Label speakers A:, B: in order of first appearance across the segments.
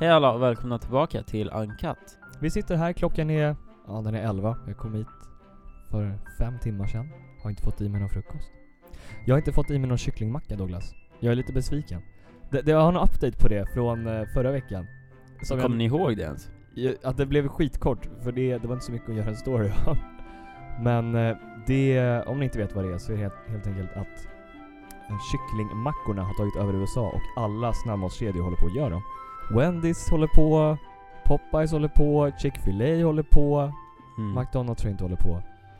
A: Hej alla och välkomna tillbaka till Uncut.
B: Vi sitter här, klockan är... Ja, den är 11. Jag kom hit för fem timmar sedan. Har inte fått i mig någon frukost. Jag har inte fått i mig någon kycklingmacka Douglas. Jag är lite besviken. Det, det, jag har en update på det från eh, förra veckan.
A: Så kommer ni ihåg det ens?
B: jag, att det blev skitkort, för det, det var inte så mycket att göra en story av. Men eh, det, om ni inte vet vad det är så är det helt, helt enkelt att eh, kycklingmackorna har tagit över USA och alla snabbmatskedjor håller på att göra dem. Wendys håller på, Popeyes håller på, Chick-fil-A håller på,
A: Mm.
B: McDonalds tror jag inte håller på.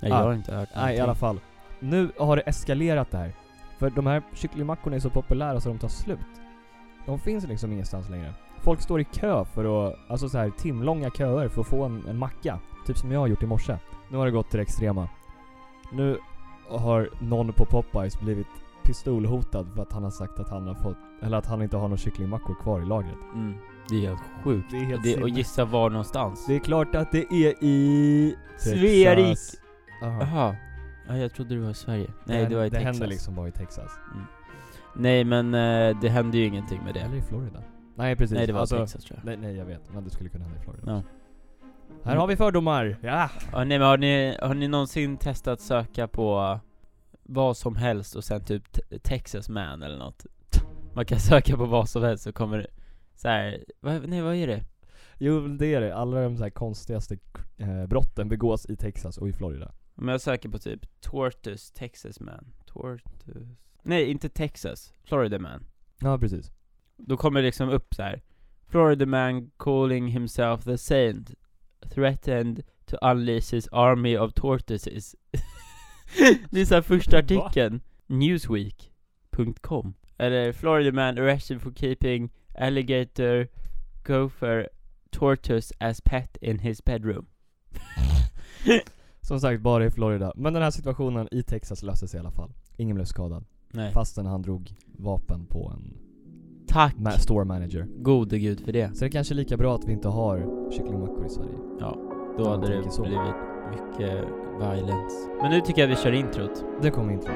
A: Nej, jag
B: Ah.
A: har inte hört
B: Nej, i alla fall. Nu har det eskalerat där. För de här kycklingmackorna är så populära så de tar slut. De finns liksom ingenstans längre. Folk står i kö för att, alltså så här timlånga köer för att få en, en macka. Typ som jag har gjort i morse. Nu har det gått till det extrema. Nu har någon på Popeyes blivit pistolhotad för att han har sagt att han har fått, eller att han inte har några kycklingmackor kvar i lagret.
A: Mm. Det är helt sjukt.
B: Det är helt
A: Det, och
B: sinnes.
A: gissa var någonstans?
B: Det är klart att det är i...
A: Sverige.
B: Texas. Jaha.
A: Jaha. Ja, jag trodde det var i Sverige. Nej,
B: Men
A: det var i
B: Det
A: Texas.
B: händer liksom bara i Texas.
A: Nej, men eh, det hände ju ingenting med
B: Eller
A: det.
B: i Florida. Nej precis.
A: Nej, det var
B: Alltså,
A: Texas tror jag.
B: Nej, nej jag vet, men det skulle kunna hända i Florida
A: Ja.
B: också. Här har vi fördomar! Ja!
A: Ja, nej, men har ni, har ni någonsin testat söka på vad som helst och sen typ te- Texas man eller något? Man kan söka på vad som helst så kommer det så här, vad, nej vad är det?
B: Jo det är det, alla de så här konstigaste eh, brotten begås i Texas och i Florida.
A: Om jag söker på typ Tortoise Texas man, Tortoise Nej inte Texas, Florida man
B: Ja precis.
A: Då kommer det liksom upp så här. Florida man calling himself the saint Threatened to unleash his army of tortoises Det är så här första
B: Va?
A: artikeln Newsweek.com Eller Florida man arrested for keeping alligator gopher tortoise as pet in his bedroom
B: Som sagt, bara i Florida. Men den här situationen i Texas löste sig i alla fall. Ingen blev skadad.
A: Nej,
B: Fastän han drog vapen på en
A: tack
B: ma- store manager.
A: gode gud för det
B: Så det är kanske är lika bra att vi inte har kycklingmackor i Sverige.
A: Då
B: Om
A: hade
B: man
A: det
B: tänker så.
A: blivit mycket violence. Men nu tycker jag vi kör introt.
B: Det kommer introt.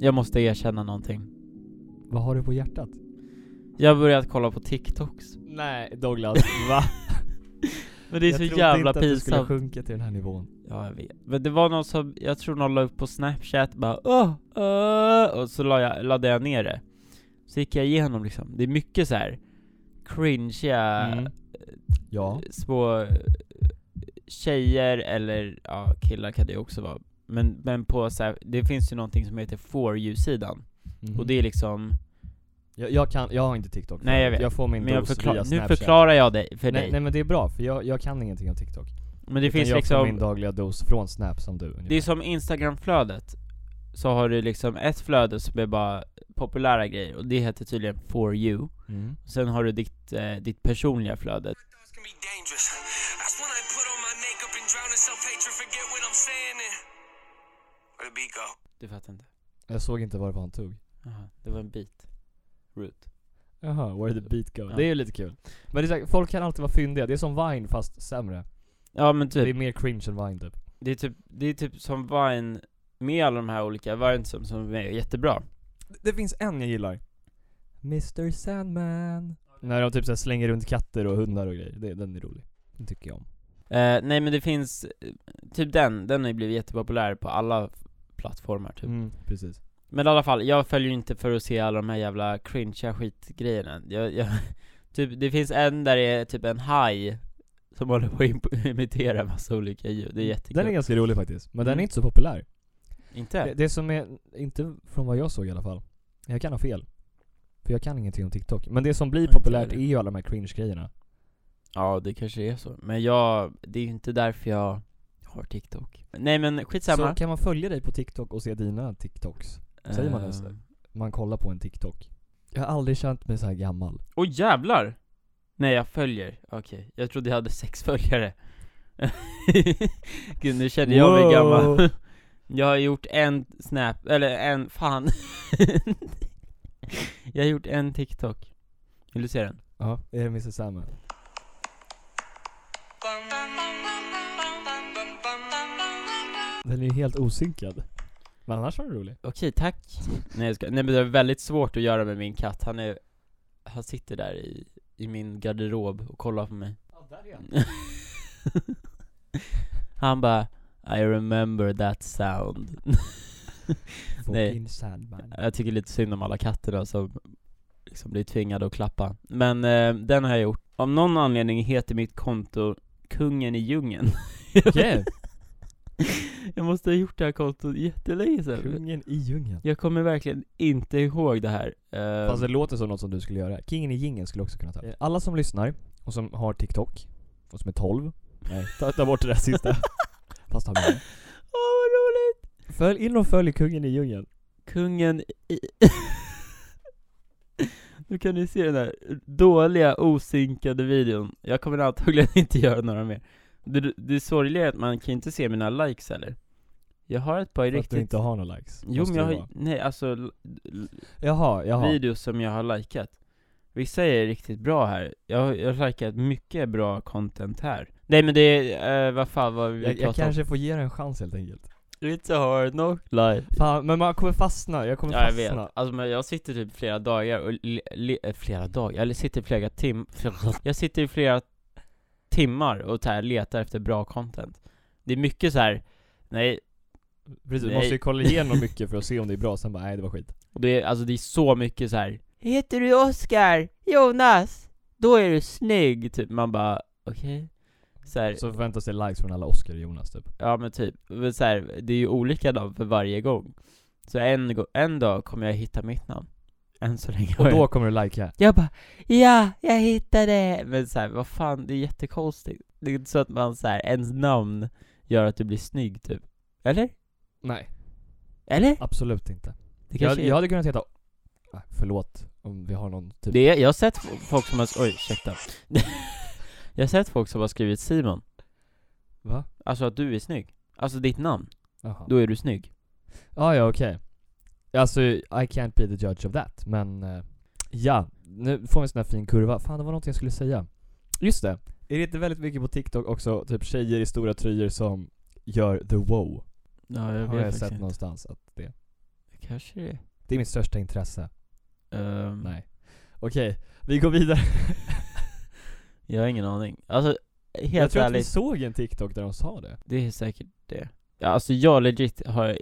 A: Jag måste erkänna någonting.
B: Vad har du på hjärtat?
A: Jag har börjat kolla på TikToks.
B: Nej Douglas, va?
A: Men det är
B: jag
A: så
B: trodde
A: jävla
B: inte att du skulle
A: pinsamt.
B: sjunka till den här nivån.
A: Ja, jag vet. Men det var någon som, jag tror någon la upp på snapchat bara åh, åh, och så la jag, laddade jag ner det. Så gick jag igenom liksom. Det är mycket så här cringeiga
B: Mm. Ja.
A: små eh, tjejer eller ja, killar kan det ju också vara. Men, men på så här, det finns ju någonting som heter for you-sidan.
B: Mhm.
A: Och det är liksom
B: Jag, jag kan, jag har inte TikTok.
A: Nej, jag vet.
B: Jag får min
A: Men jag
B: dos
A: förkla-
B: via
A: nu
B: Snapchat.
A: förklarar jag dig för
B: nej,
A: dig.
B: nej men det är bra, för jag, jag kan ingenting om TikTok. Utan
A: men det finns
B: jag får min
A: liksom,
B: dagliga dos från Snap som du ungefär.
A: det är som Instagram-flödet. Så har du liksom ett flöde som är bara populära grejer och det heter tydligen for you.
B: Mm.
A: Sen har du ditt, eh, ditt personliga flöde.
C: It's gonna be dangerous. That's when I put on my makeup and drown in self-hatred, forget what I'm saying. And... Where the beat go?
A: Du fattar inte.
B: Jag såg inte varifrån han tog.
A: Jaha, det var en bit. Root.
B: Jaha, where the beat go.
A: Ja.
B: Det är ju lite kul. Men det är så här, folk kan alltid vara fyndiga. Det är som Vine fast sämre.
A: Ja men
B: Det är
A: typ,
B: mer cringe än Vine typ.
A: det är typ, det är typ som Vine, med alla de här olika Vine som, som är jättebra.
B: Det finns en jag gillar. Mr Sandman. När de typ så här slänger runt katter och hundar och grejer. Det, den är rolig. Den tycker jag om.
A: Eh, nej men det finns, eh, typ den, den har ju blivit jättepopulär på alla plattformar typ.
B: Mm, precis.
A: Men i alla fall, jag följer ju inte för att se alla de här jävla cringea skitgrejerna jag, jag, typ, Det finns en där det är typ en haj Som håller på att imp- imitera massa olika ljud, det är jättekul
B: Mm. Den är ganska rolig faktiskt. Men den
A: Mm.
B: är inte så populär.
A: Inte?
B: Det, det som är, inte från vad jag såg i alla fall. Jag kan ha fel. För jag kan ingenting om TikTok. Men det som blir
A: Inte jag
B: populärt
A: heller.
B: är ju alla de här cringe-grejerna.
A: Ja det kanske är så, men jag, det är ju inte därför jag har TikTok Nej men skitsamma
B: Så kan man följa dig på TikTok och se dina TikToks? säger man
A: Eh,
B: ens det? Man kollar på en TikTok. Jag har aldrig känt mig så här gammal.
A: Åh jävlar! Nej jag följer, okej, jag trodde jag hade sex följare Gud nu känner jag mig
B: Wow.
A: gammal Jag har gjort en snap, eller en, fan Jag har gjort en TikTok Vill du se den?
B: Eh, Ja. Är det Mrs Sandman?
C: Bum, bum, bum, bum, bum.
B: Den är ju helt osynkad. Men annars var den rolig.
A: Okej, tack. Nej, jag ska, nej men det är väldigt svårt att göra med min katt, han är, han sitter där i, i min garderob och kollar på mig. han bara, I remember that sound. Nej.
B: Fucking Sandman.
A: Jag tycker lite synd om alla katterna som liksom blir tvingade att klappa. Men eh, den har jag gjort. Av någon anledning heter mitt konto Kungen i djungeln.
B: Okej,
A: jag måste ha gjort det här kontot jättelänge sedan.
B: kungen i djungeln.
A: Jag kommer verkligen inte ihåg det här. Eh,
B: Fast det låter som något som du skulle göra. Kingen i jingeln skulle också kunna ta. Alla som lyssnar och som har TikTok och som är 12. Nej, ta, ta bort det där sista. Fast ta med det.
A: Åh vad roligt!
B: Följ in och följ kungen i djungeln.
A: Kungen i... nu kan ni se den här dåliga osynkade videon. Jag kommer antagligen inte göra några mer. Det, det sorgliga är att man kan inte se mina likes heller. Jag har ett par
B: För att du
A: riktigt...
B: inte har några likes.
A: Jo
B: Måste
A: men jag
B: det
A: har,
B: vara.
A: nej alltså, l- l-
B: Jaha, jaha.
A: videos som jag har likat Vissa är riktigt bra här, jag, har- jag har likat mycket bra content här Nej men det är, eh, vad fan var vi
B: Jag,
A: pratade om?
B: jag kanske får ge dig en chans helt enkelt.
A: It's a hard knock life
B: Fan, men man kommer fastna. Jag kommer
A: Ja jag vet,
B: fastna.
A: alltså men jag sitter typ flera dagar och, li, li, eh, flera dagar, eller sitter flera tim, jag sitter i flera timmar och så här letar efter bra content Det är mycket så här. nej,
B: Precis, du
A: Nej.
B: måste ju kolla igenom mycket för att se om det är bra, sen bara nej det var skit.
A: Och det är, alltså det är så mycket så här. Heter du Oscar? Jonas? Då är du snygg! Typ man bara, okej? så här,
B: Så förväntas det likes från alla Oscar och Jonas typ.
A: ja men typ, Men så här, det är ju olika då för varje gång Så en, go- en dag kommer jag hitta mitt namn Än så länge har
B: Och
A: jag-
B: då kommer du likea.
A: Jag bara, ja, jag hittade! Men så här, vad fan, det är jättekonstigt Det är inte så att man så här, ens namn gör att du blir snygg typ Eller?
B: Nej,
A: Eller?
B: absolut inte.
A: Det
B: Jag,
A: kanske
B: jag hade kunnat heta... Ah, förlåt om vi har någon typ...
A: Det, jag har sett f- folk som har, oj ursäkta Jag har sett folk som har skrivit Simon,
B: Va?
A: alltså att du är snygg Alltså ditt namn,
B: Jaha.
A: då är du snygg
B: Ah, ja, okej. Alltså, I can't be the judge of that, men... eh, ja, nu får vi en sån här fin kurva. Fan, det var något jag skulle säga. Just det. Är det inte väldigt mycket på TikTok också, typ tjejer i stora tröjor som gör the wow?
A: Ja
B: har jag sett någonstans att det...
A: Kanske det
B: Det är mitt största intresse.
A: Mm. Ehm,
B: Nej. Okej, vi går vidare.
A: Jag har ingen aning, alltså
B: jag
A: helt
B: tror att vi
A: ärligt,
B: såg en TikTok där de sa det.
A: det är säkert det ja, Alltså jag legit har,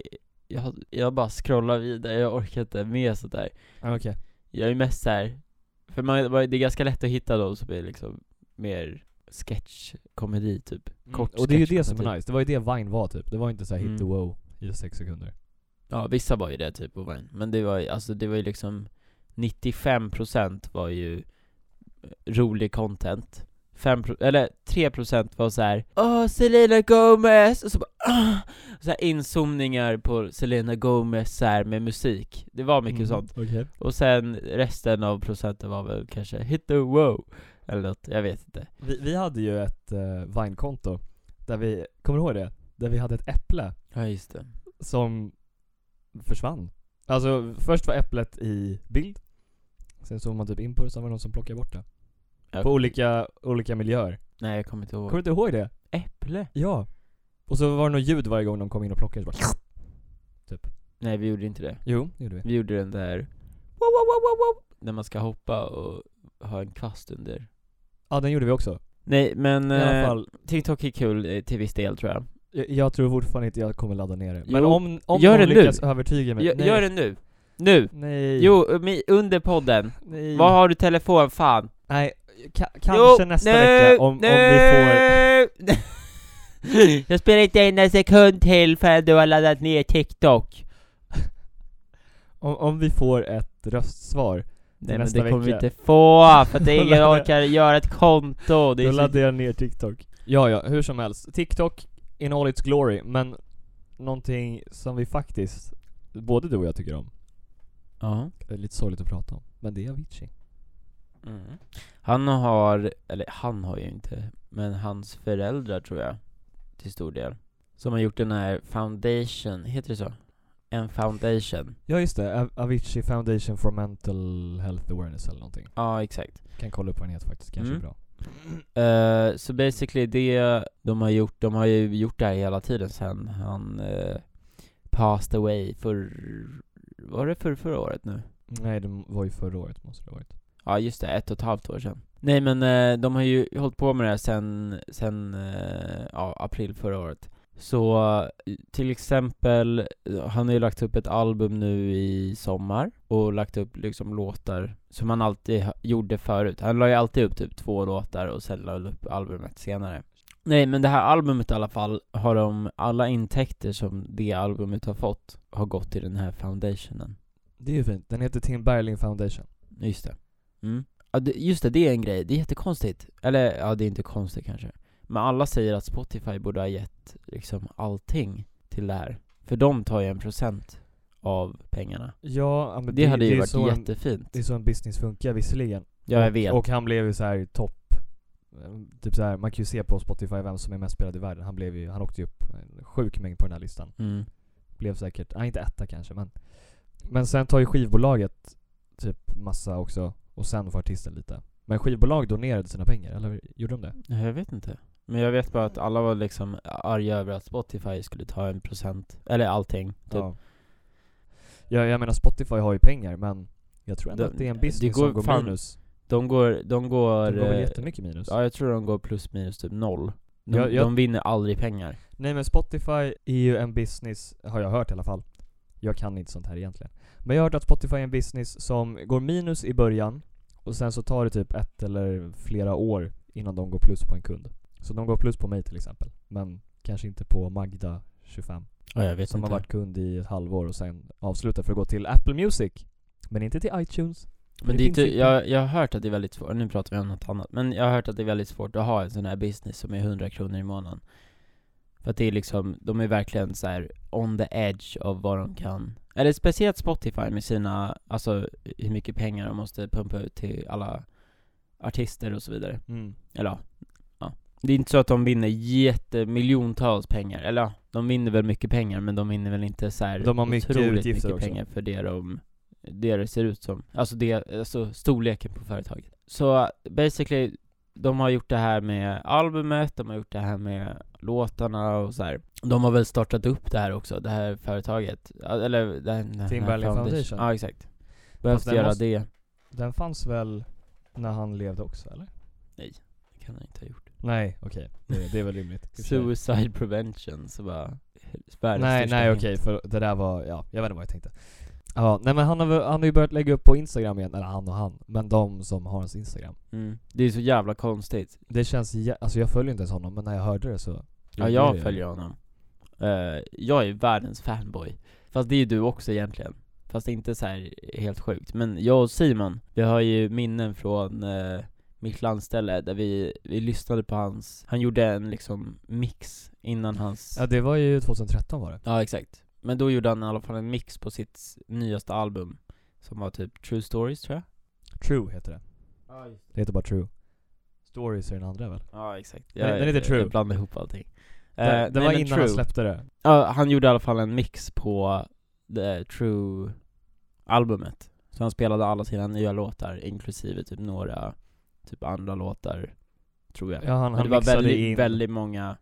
A: jag, har- jag bara scrollar vidare, jag orkar inte med sånt där
B: Ah, Okej.
A: Jag är mest såhär, för man, det är ganska lätt att hitta de som är liksom mer sketchkomedi typ Kort
B: och det är ju det som
A: sketchkomedi.
B: är nice, det var ju det Vine var typ. Det var inte så här hit the
A: Mm.
B: wow i sex sekunder.
A: Ja, vissa var ju det typ på Vine, men det var ju, alltså det var ju liksom 95% var ju eh, rolig content 5 eller 3% var så här. Åh, Selena Gomez! Och så bara "Ah!" så här inzoomningar på Selena Gomez så här med musik Det var mycket sånt
B: Mm. Okej.
A: Och sen resten av procenten var väl kanske hit the wow Eller något, jag vet inte
B: Vi, vi hade ju ett eh, Vine-konto, där vi, kommer du ihåg det? Där vi hade ett äpple
A: Ja just det
B: som försvann. Alltså först var äpplet i bild, sen såg man typ in på det, sen var det någon som plockade bort det.
A: Jag-
B: På olika, olika miljöer.
A: Nej jag kommer inte ihåg
B: Kommer du inte ihåg det?
A: Äpple?
B: Ja. Och så var det något ljud varje gång de kom in och plockade. Så bara,
A: Nej vi gjorde inte det
B: jo, det gjorde vi.
A: Vi gjorde den där wow, wow, wow, wow, wow, När man ska hoppa och ha en kvast under
B: Ja, den gjorde vi också.
A: Nej men
B: I alla
A: eh,
B: fall,
A: TikTok är kul eh, till viss del tror jag
B: jag, jag tror fortfarande inte jag kommer ladda ner det. Men
A: Jo,
B: om, om
A: gör
B: någon
A: det nu.
B: lyckas övertyga mig.
A: Gö-
B: nej,
A: Gör det nu! Nu!
B: Nej.
A: Jo, eh, mi- under podden
B: Nej.
A: Vad har du telefon? Fan!
B: Nej, ka-
A: Jo,
B: kanske nästa
A: nu,
B: vecka om, om
A: nu.
B: vi får...
A: Jag spelar inte in en sekund till förrän du har laddat ner TikTok
B: Om, om vi får ett röstsvar,
A: Nej men
B: Nästa
A: det kommer vi
B: vecka.
A: inte få, för att det är ingen
B: laddar jag-
A: orkar göra ett konto det
B: då
A: är så...
B: laddar jag ner TikTok. Ja, ja, hur som helst. TikTok in all its glory, men någonting som vi faktiskt, både du och jag tycker om,
A: Ja.
B: är lite sorgligt att prata om, men det är Avicii.
A: Mm. Han har, eller han har ju inte, men hans föräldrar tror jag, till stor del. Som har gjort den här foundation, heter det så? En foundation.
B: Ja, just det. A- Avicii Foundation for Mental Health Awareness eller någonting.
A: Ja, exakt.
B: Kan kolla upp vad den heter faktiskt, kanske
A: Mm.
B: är bra.
A: Eh, så basically det de har gjort, de har ju gjort det här hela tiden sen han eh, passed away för, var det för förra året nu?
B: Nej, det var ju förra året måste det ha varit.
A: Ja just det, ett och ett halvt år sedan. Nej men eh, de har ju hållit på med det här sen, sen eh, ja, april förra året. Så eh, till exempel, eh, han har ju lagt upp ett album nu i sommar och lagt upp liksom låtar som han alltid ha- gjorde förut. Han la ju alltid upp typ två låtar och sen la han upp albumet senare. Nej men det här albumet i alla fall har de, alla intäkter som det albumet har fått har gått till den här foundationen.
B: Det är ju fint. Den heter Tim Berling Foundation.
A: Just det. Mm. Ja, det, just det, det är en grej. Det är jättekonstigt. Eller, ja det är inte konstigt kanske. Men alla säger att Spotify borde ha gett liksom allting till det här. För de tar ju en procent av pengarna.
B: Ja, ja, men
A: det, hade ju
B: är
A: varit
B: så en-
A: jättefint.
B: Det är så en business funkar visserligen.
A: ja, jag
B: Och-
A: vet.
B: Och han blev ju så här topp. eh, Typ så här, man kan ju se på Spotify vem som är mest spelad i världen. Han blev ju, han åkte ju upp en sjuk mängd på den här listan.
A: Mm.
B: Blev säkert, nej inte etta kanske men. Men sen tar ju skivbolaget typ massa också. Och sen får artisten lite. Men skivbolag donerade sina pengar, eller gjorde de det?
A: Nej, Jag vet inte. Men jag vet bara att alla var liksom arga över att Spotify skulle ta en procent, eller allting. Typ.
B: Ja. ja. Jag menar Spotify har ju pengar men jag tror ändå
A: Det-
B: att det är en
A: det
B: business
A: går
B: som går
A: fan-
B: minus.
A: De går, de går...
B: Det går väl
A: eh,
B: jättemycket minus?
A: ja, jag tror de går plus minus typ noll. De,
B: Jag- jag-
A: de vinner aldrig pengar.
B: Nej men Spotify är ju en business, har jag hört i alla fall. Jag kan inte sånt här egentligen. Men jag har hört att Spotify är en business som går minus i början och sen så tar det typ ett eller flera år innan de går plus på en kund. Så de går plus på mig till exempel. Men kanske inte på Magda 25
A: Ja, jag vet
B: som
A: inte.
B: har varit kund i ett halvår och sen avslutar för att gå till Apple Music. Men inte till iTunes.
A: Men
B: Det
A: det är
B: finns
A: ty-
B: inte.
A: jag, jag har hört att det är väldigt svårt, nu pratar vi om något annat, men jag har hört att det är väldigt svårt att ha en sån här business som är 100 kronor i månaden. För att det är liksom, de är verkligen så här on the edge av vad de kan. Eller speciellt Spotify med sina, alltså hur mycket pengar de måste pumpa ut till alla artister och så vidare. Eller ja, ja. Det är inte så att de vinner jättemiljontals pengar, eller ja, de vinner väl mycket pengar men de vinner väl inte så här
B: De har mycket
A: otroligt
B: utgifter
A: mycket
B: också.
A: pengar för det de, det det ser ut som. Alltså det, alltså storleken på företaget. Så basically, de har gjort det här med albumet, de har gjort det här med låtarna och så här. De har väl startat upp det här också, det här företaget. Eller den, den här
B: Tim Berling Foundation.
A: Ja exakt. Behövs
B: den
A: göra
B: måste-
A: det?
B: Den fanns väl när han levde också eller?
A: Det kan de inte ha gjort.
B: Nej, okej. Det, det är väl rimligt. i och för sig.
A: Suicide prevention, så bara världens
B: Nej,
A: största
B: nej
A: hit.
B: okej, för det där var, ja, jag vet inte vad jag tänkte. Ja, nej men han har, väl- han har ju börjat lägga upp på Instagram igen, eller han och han, men de som har hans Instagram.
A: Mm. Det är så jävla konstigt.
B: Det känns, jä- alltså jag följer inte ens honom, men när jag hörde det så...
A: Ja, jag följer honom. Eh, jag är världens fanboy. Fast det är ju du också egentligen. Fast inte så här helt sjukt. Men jag och Simon, vi har ju minnen från eh, mitt landställe där vi, vi lyssnade på hans, han gjorde en liksom mix innan hans...
B: Ja det var ju 2013 var det.
A: Ja, exakt. Men då gjorde han i alla fall en mix på sitt nyaste album. Som var typ True Stories tror jag.
B: True heter det.
A: Ja, just
B: Det heter bara True. Stories är den andra väl?
A: Ja, exakt.
B: Den- den heter True.
A: Jag blandar ihop allting. Eh,
B: det det
A: nej,
B: var
A: men
B: innan han släppte det.
A: Ja, han gjorde i alla fall en mix på The True albumet. Så han spelade alla sina nya låtar, inklusive typ några typ andra låtar, tror jag.
B: Ja, han,
A: Men
B: han
A: det var
B: mixade
A: väldigt,
B: in...
A: väldigt många,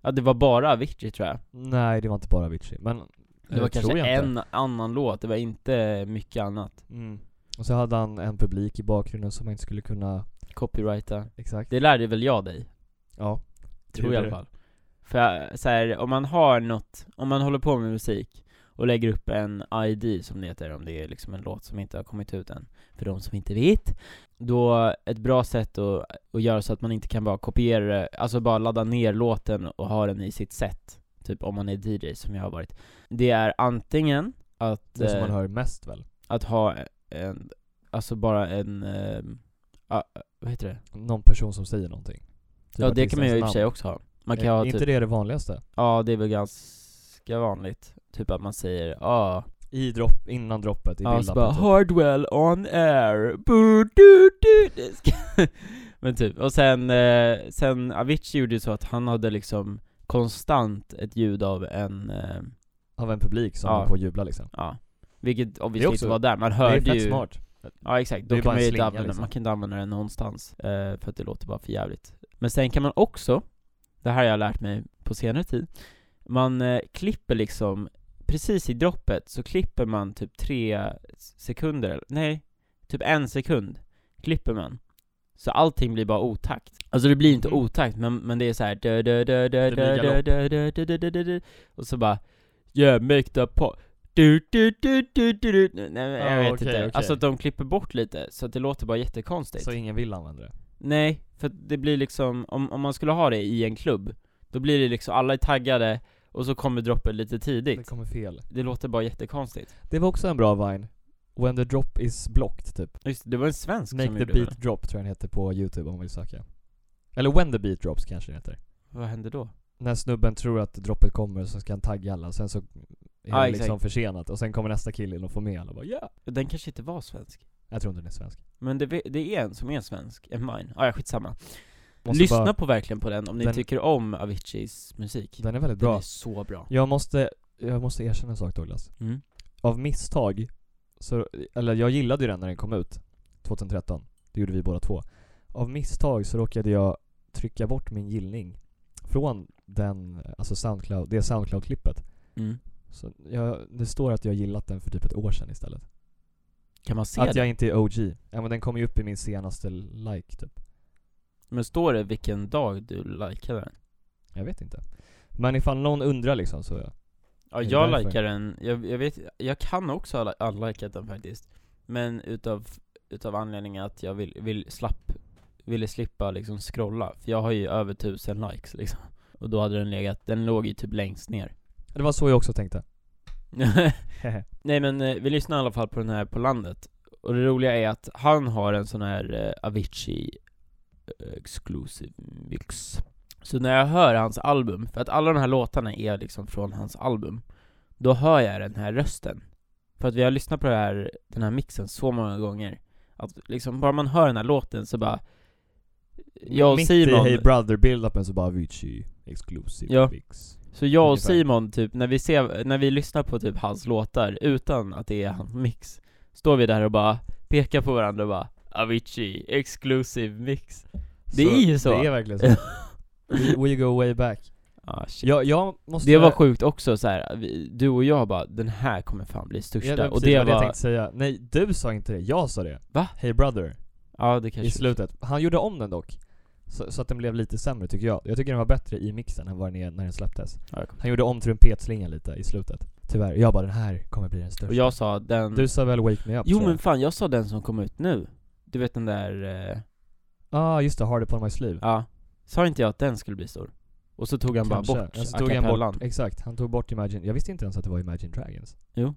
A: ja det var bara Avicii tror jag.
B: Nej, det var inte bara Avicii, men...
A: Det var kanske en annan låt, det var inte mycket annat.
B: Mm. Och så hade han en publik i bakgrunden som man inte skulle kunna...
A: Copyrighta.
B: Exakt.
A: Det lärde väl jag dig?
B: Ja. Det
A: Tror jag i
B: gjorde
A: alla fall. För jag- så här, om man har något, om man håller på med musik och lägger upp en ID som det heter, om det är liksom en låt som inte har kommit ut än, för de som inte vet. Då, ett bra sätt att, att göra så att man inte kan bara kopiera det, alltså bara ladda ner låten och ha den i sitt set, typ om man är DJ som jag har varit. Det är antingen att,
B: Det som man
A: eh,
B: hör mest väl?
A: att ha en, alltså bara en, eh, ah, vad heter det?
B: någon person som säger någonting. Typ
A: ja det kan man ju i och
B: artistens
A: för sig
B: namn. Eh,
A: också ha. Man kan
B: Är
A: ha
B: inte
A: typ
B: det det vanligaste?
A: Ja, det är väl ganska vanligt. Typ att man säger "Ah, ja.
B: I dropp, innan droppet, i
A: Ja, så
B: bildappen
A: bara
B: typ.
A: Hardwell on air. Bu, du, du, du. Men typ, och sen, eh, sen Avicii gjorde ju så att han hade liksom konstant ett ljud av en, eh,
B: Av en publik som
A: Ja.
B: håller på att jubla liksom.
A: ja. Vilket obviously
B: också-
A: inte var där, man
B: Det är
A: hörde
B: fett
A: ju
B: smart.
A: Ja exakt,
B: Det är
A: då
B: ju
A: kan
B: bara en
A: man ju inte
B: slinga,
A: använda,
B: liksom.
A: man kan inte använda den någonstans, eh, för att det låter bara för jävligt. Men sen kan man också, det här har jag lärt mig på senare tid, man eh, klipper liksom, precis i droppet så klipper man typ tre sekunder, eller- nej, typ en sekund klipper man. Så allting blir bara otakt. Alltså det blir inte
B: Mhm.
A: otakt, men, men det är såhär dö dö dö dö
B: Det blir
A: dö dö dö dö dö dö dö dö dö och så bara Yeah, make the po- du, du, du, du, du, du. Nej men jag
B: Ah,
A: vet
B: okej,
A: inte,
B: okej.
A: alltså att de klipper bort lite så att det låter bara jättekonstigt
B: Så ingen vill använda det.
A: Nej, för att det blir liksom, om, om man skulle ha det i en klubb Då blir det liksom, alla är taggade och så kommer droppen lite
B: Det
A: tidigt
B: kommer fel.
A: Det låter bara jättekonstigt
B: Det var också en bra vine. When the drop is blocked, typ.
A: Just det, det var en svensk som
B: Make the
A: gjorde
B: beat
A: det
B: drop tror jag den heter på youtube om man vill söka. Eller When the beat drops kanske den heter.
A: Vad hände då?
B: När snubben tror att droppet kommer så ska han tagga alla, sen så är det
A: Ja,
B: liksom
A: exakt.
B: försenat och sen kommer nästa kille in och får med alla och bara ja.
A: Den kanske inte var svensk
B: Jag tror inte den är svensk.
A: Men det, det är en som är svensk, en mine, ah, ja skitsamma
B: Måste
A: Lyssna
B: bara-
A: på verkligen på den om ni
B: Den-
A: tycker om Aviciis musik
B: Den är väldigt
A: Den
B: bra.
A: är så bra
B: Jag måste, jag måste erkänna en sak Douglas.
A: mm.
B: Av misstag, så, eller jag gillade ju den när den kom ut, 2013. Det gjorde vi båda två. Av misstag så råkade jag trycka bort min gillning från den, alltså Soundcloud, det Soundcloud-klippet.
A: Mm.
B: Så jag, det står att jag gillat den för typ ett år sedan istället.
A: Kan man se
B: att
A: det?
B: jag inte är OG. Ja men den kom ju upp i min senaste like typ.
A: Men står det vilken dag du likade den?
B: Jag vet inte. Men ifall någon undrar liksom så,
A: Ja
B: Är det
A: jag
B: därför?
A: likar den, jag, jag vet, jag kan också ha li- unlikat den faktiskt Men utav, utav anledningen att jag vill, vill slapp, ville slippa liksom scrolla För jag har ju över tusen likes liksom Och då hade den legat, den låg ju typ längst ner
B: det var så jag också tänkte.
A: Nej men eh, vi lyssnar i alla fall på den här på landet Och det roliga är att han har en sån här eh, Avicii eh, Exclusive mix Så när jag hör hans album, för att alla de här låtarna är liksom från hans album Då hör jag den här rösten För att vi har lyssnat på det här, den här mixen så många gånger Att liksom bara man hör den här låten så bara Jag och
B: Mitt
A: Simon
B: i Hey Brother build-upen så bara Avicii exclusive
A: Ja.
B: mix.
A: Så jag och
B: Ungefär.
A: Simon, typ, när vi, ser, när vi lyssnar på typ hans låtar utan att det är hans mix Står vi där och bara pekar på varandra och bara Avicii, exclusive mix Det är ju så.
B: Det är verkligen så. we, we go way back.
A: ah, shit.
B: Jag, jag måste...
A: Det var sjukt också så här. Vi, du och jag bara Den här kommer fan bli
B: Ja,
A: största,
B: det var
A: och
B: precis
A: det
B: vad jag
A: var,
B: tänkte säga. Nej, du sa inte det. Jag sa det.
A: Va?
B: Hey Brother.
A: ja det kanske
B: I slutet. Han gjorde om den dock. Så, så att den blev lite sämre tycker jag. Jag tycker den var bättre i mixen än vad den är när den släpptes.
A: Ja, jag kommer-
B: Han gjorde om trumpetslingan lite i slutet. Tyvärr. Jag bara den här kommer bli den största.
A: Och jag sa den,
B: Du sa väl Wake Me Up?
A: jo
B: tror jag.
A: men fan jag sa den som kom ut nu Du vet den där, eh,
B: Ah just det, Hard Upon My Sleeve.
A: ja Sa inte jag att den skulle bli stor? Och så tog han bara bort
B: Alltså, tog han
A: acapellan.
B: bort, exakt, han tog bort Imagine, jag visste inte ens att det var Imagine Dragons.
A: Jo.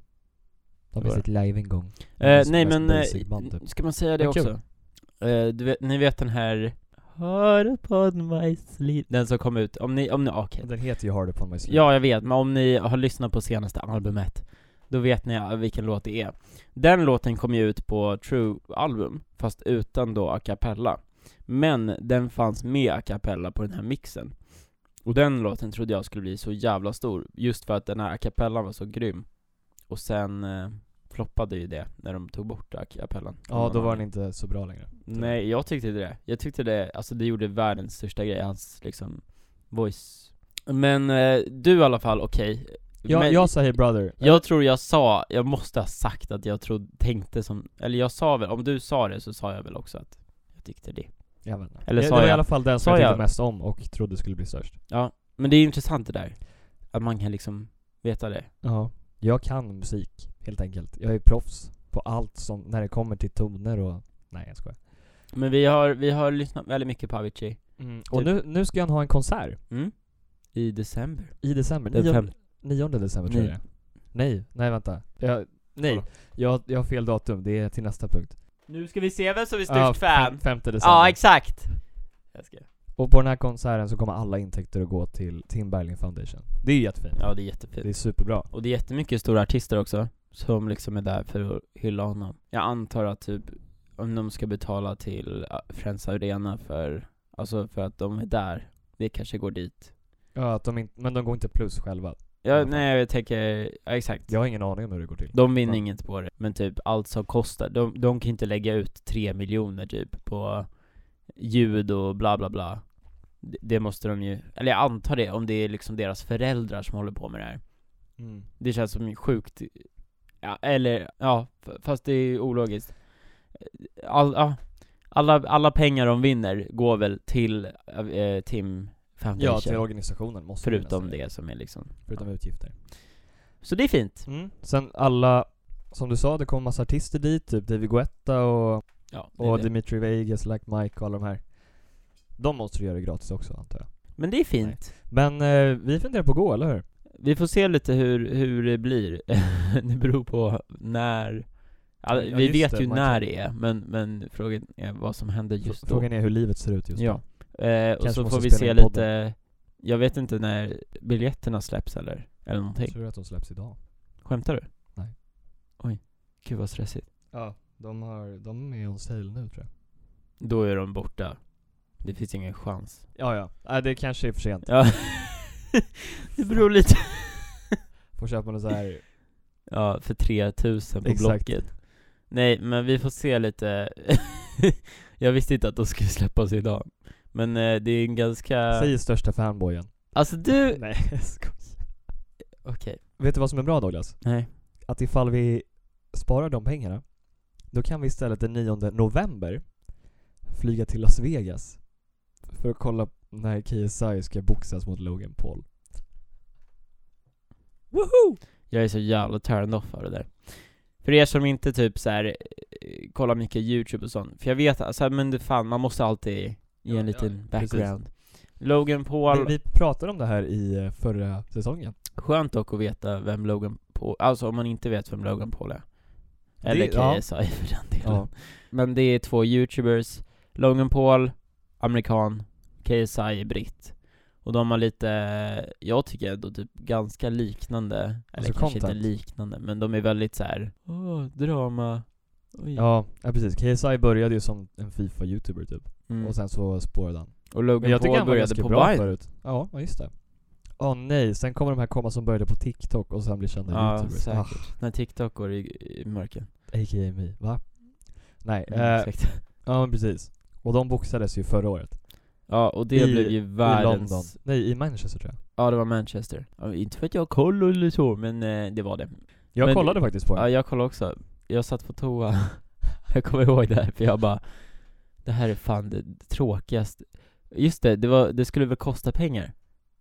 B: De
A: Det
B: är
A: var
B: sitt live en gång.
A: Eh,
B: Deras
A: nej
B: mest
A: men,
B: basic
A: eh,
B: band, typ.
A: ska man säga det
B: Vad kul.
A: också? Eh, du vet, ni vet den här Hör upon my sleep Den som kom ut, om ni, om ni, okej
B: Den heter ju Hard Upon My Sleeve.
A: Ja jag vet, men om ni har lyssnat på senaste albumet Då vet ni eh, vilken låt det är Den låten kom ju ut på True-album, fast utan då a cappella Men den fanns med a cappella på den här mixen Och den låten trodde jag skulle bli så jävla stor Just för att den här a cappella var så grym Och sen eh, floppade ju det när de tog bort a cappellan
B: Ja, då var den
A: ni
B: inte så bra längre.
A: Nej, jag tyckte inte det. Jag tyckte det, alltså det gjorde världens största grej, hans liksom voice Men eh, du i alla fall, okej
B: Ja,
A: Men
B: jag sa Hey Brother.
A: jag tror jag sa, jag måste ha sagt att jag trodde, tänkte som, eller jag sa väl, om du sa det så sa jag väl också att jag tyckte det
B: Jag vet inte.
A: Eller
B: det,
A: sa
B: det var i
A: jag-
B: alla fall den
A: sa
B: som jag tyckte
A: jag-
B: mest om och trodde skulle bli störst.
A: Ja, men det är intressant det där Att man kan liksom veta det
B: Ja. Jag kan musik, helt enkelt. Jag är proffs på allt som, när det kommer till toner och... Nej, jag skojar.
A: Men vi har, vi har lyssnat väldigt mycket på Avicii
B: Och
A: Typ.
B: nu, nu ska han ha en konsert.
A: mm? I december
B: I december.
A: Den
B: Nion-
A: fem-
B: 9 december tror jag det är. Nej, nej vänta. Jag, nej,
A: Kolla.
B: jag, jag har fel datum. Det är till nästa punkt.
A: Nu ska vi se vem som är störst
B: Ja,
A: fan!
B: fem- femte december.
A: Ja, exakt! Jag ska.
B: och på den här konserten så kommer alla intäkter att gå till Tim Bergling Foundation. Det är ju jättefint.
A: Ja, det är jättefint
B: Det är superbra.
A: Och det är jättemycket stora artister också Som liksom är där för att hylla honom Jag antar att typ Om de ska betala till äh, Friends Arena för Alltså för att de är där Det kanske går dit
B: Ja, att de inte, men de går inte plus själva.
A: Ja, nej jag tänker, ja, exakt.
B: Jag har ingen aning om hur det går till.
A: De vinner
B: Ja.
A: inget på det, men typ allt som kostar, de, de kan inte lägga ut tre miljoner typ på ljud och bla bla bla. Det, det måste de ju, eller jag antar det, om det är liksom deras föräldrar som håller på med det här. Mm.
B: Mm.
A: Det känns som sjukt, ja, eller ja, f- fast det är ju ologiskt. All, ja, alla, alla pengar de vinner går väl till eh, Tim Foundation,
B: Ja, till alltså. organisationen måste vi
A: förutom
B: nästan-
A: det som är liksom.
B: Förutom utgifter.
A: Så det är fint.
B: Sen alla, som du sa, det kom massa artister dit, typ David Guetta och,
A: Ja, det är
B: och
A: det.
B: Dimitri Vegas, Like Mike och alla de här. De måste du göra gratis också antar jag.
A: Men det är fint.
B: Men eh, vi funderar på att gå, eller hur?
A: Vi får se lite hur, hur det blir. det beror på när... Ja,
B: Ja,
A: vi
B: just
A: vet
B: det,
A: ju
B: man
A: när
B: kan-
A: det är, men, men frågan är vad som händer just då.
B: Frågan är hur livet ser ut just
A: ja. Eh, och
B: Kanske
A: så
B: måste
A: får vi
B: spela
A: se
B: in podden.
A: lite... Jag vet inte när biljetterna släpps eller, eller
B: nu.
A: någonting.
B: Tror du att de släpps idag?
A: Skämtar du?
B: Nej.
A: Oj, gud vad stressigt.
B: Ja, de, har, de är on sale nu tror jag.
A: Då är de borta. Det finns ingen chans.
B: Ja, ja. Nej, det kanske är för sent.
A: Ja. det beror lite...
B: Får köpa något så här.
A: Ja, för 3000 på
B: Exakt.
A: Blocket. Nej, men vi får se lite. jag visste inte att de skulle släppas idag. Men eh, det är en ganska...
B: Säg största fanboyen.
A: Alltså du...
B: Nej, jag skojar.
A: Okej.
B: Vet du vad som är bra Douglas?
A: Nej.
B: Att ifall vi sparar de pengarna, då kan vi istället den 9 november flyga till Las Vegas för att kolla när KSI ska boxas mot Logan Paul.
A: Woho! Jag är så jävla turned off av det där. För er som inte typ så här eh, kollar mycket YouTube och sånt. För jag vet, alltså men det fan, man måste alltid ge
B: Ja,
A: en liten
B: ja, precis.
A: background. Logan Paul,
B: Vi, vi pratade om det här i eh, förra säsongen.
A: skönt dock att veta vem Logan Paul, alltså om man inte vet vem Logan Paul är.
B: Det-
A: Eller
B: ja.
A: KSI för den delen. Men det är två youtubers, Logan Paul, amerikan, KSI är britt. Och de har lite, jag tycker ändå typ ganska liknande, eller
B: Alltså
A: kanske
B: content.
A: inte liknande, men de är väldigt så här. åh, drama, oj.
B: Ja, ja precis. KSI började ju som en Fifa-youtuber typ.
A: Mm.
B: Och sen så spårade han.
A: och Logan
B: Men jag tycker
A: Paul
B: han var
A: började
B: ganska
A: på
B: bra
A: Vine.
B: förut. Ja, ja, just det. Åh nej, sen kommer de här komma som började på TikTok och sen blir kända
A: Ja,
B: youtubers.
A: säkert. När TikTok går i, i mörken.
B: Ah, A.k.a. me. Va? Nej,
A: Mm,
B: eh,
A: exakt.
B: ja men precis. Och de boxades ju förra året.
A: Ja, och det
B: i-
A: blev ju
B: I London.
A: världens...
B: Nej, i Manchester tror jag.
A: Ja, det var Manchester. Ja, inte för att jag har koll eller så, men eh, det var det.
B: Jag
A: Men-
B: kollade faktiskt på det.
A: Ja, jag kollade också. Jag satt på toa. jag kommer ihåg det här, för jag bara Det här är fan det tråkigaste. Just det, det, var, det skulle väl kosta pengar?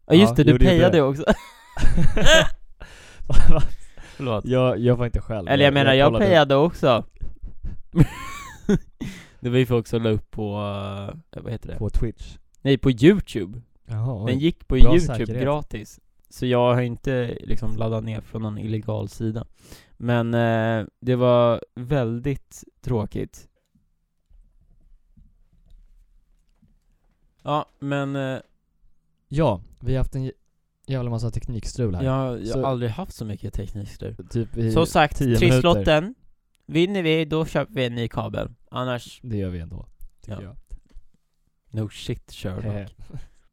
A: Ja just det,
B: Ja,
A: du
B: jo, det gjorde
A: pejade
B: det.
A: också. Förlåt.
B: jag, jag var inte själv.
A: Eller jag menar, jag
B: kollade.
A: pejade också. det var ju folk som la upp på, eh, vad heter det?
B: På Twitch.
A: Nej, på youtube.
B: Jaha,
A: Den
B: oj.
A: gick på
B: Bra
A: youtube
B: säkerhet.
A: gratis. Så jag har inte liksom laddat ner från någon illegal sida. Men eh, det var väldigt tråkigt. Ja, men eh,
B: Ja, vi har haft en j- jävla massa teknikstrul här.
A: jag, jag har
B: Så-
A: aldrig haft så mycket teknikstrul.
B: Typ i,
A: Som sagt,
B: 10
A: trisslotten. Vinner vi, då köper vi en ny kabel. Annars,
B: det gör vi ändå. Tycker
A: Ja.
B: jag.
A: no shit
B: Hehe.
A: Sherlock.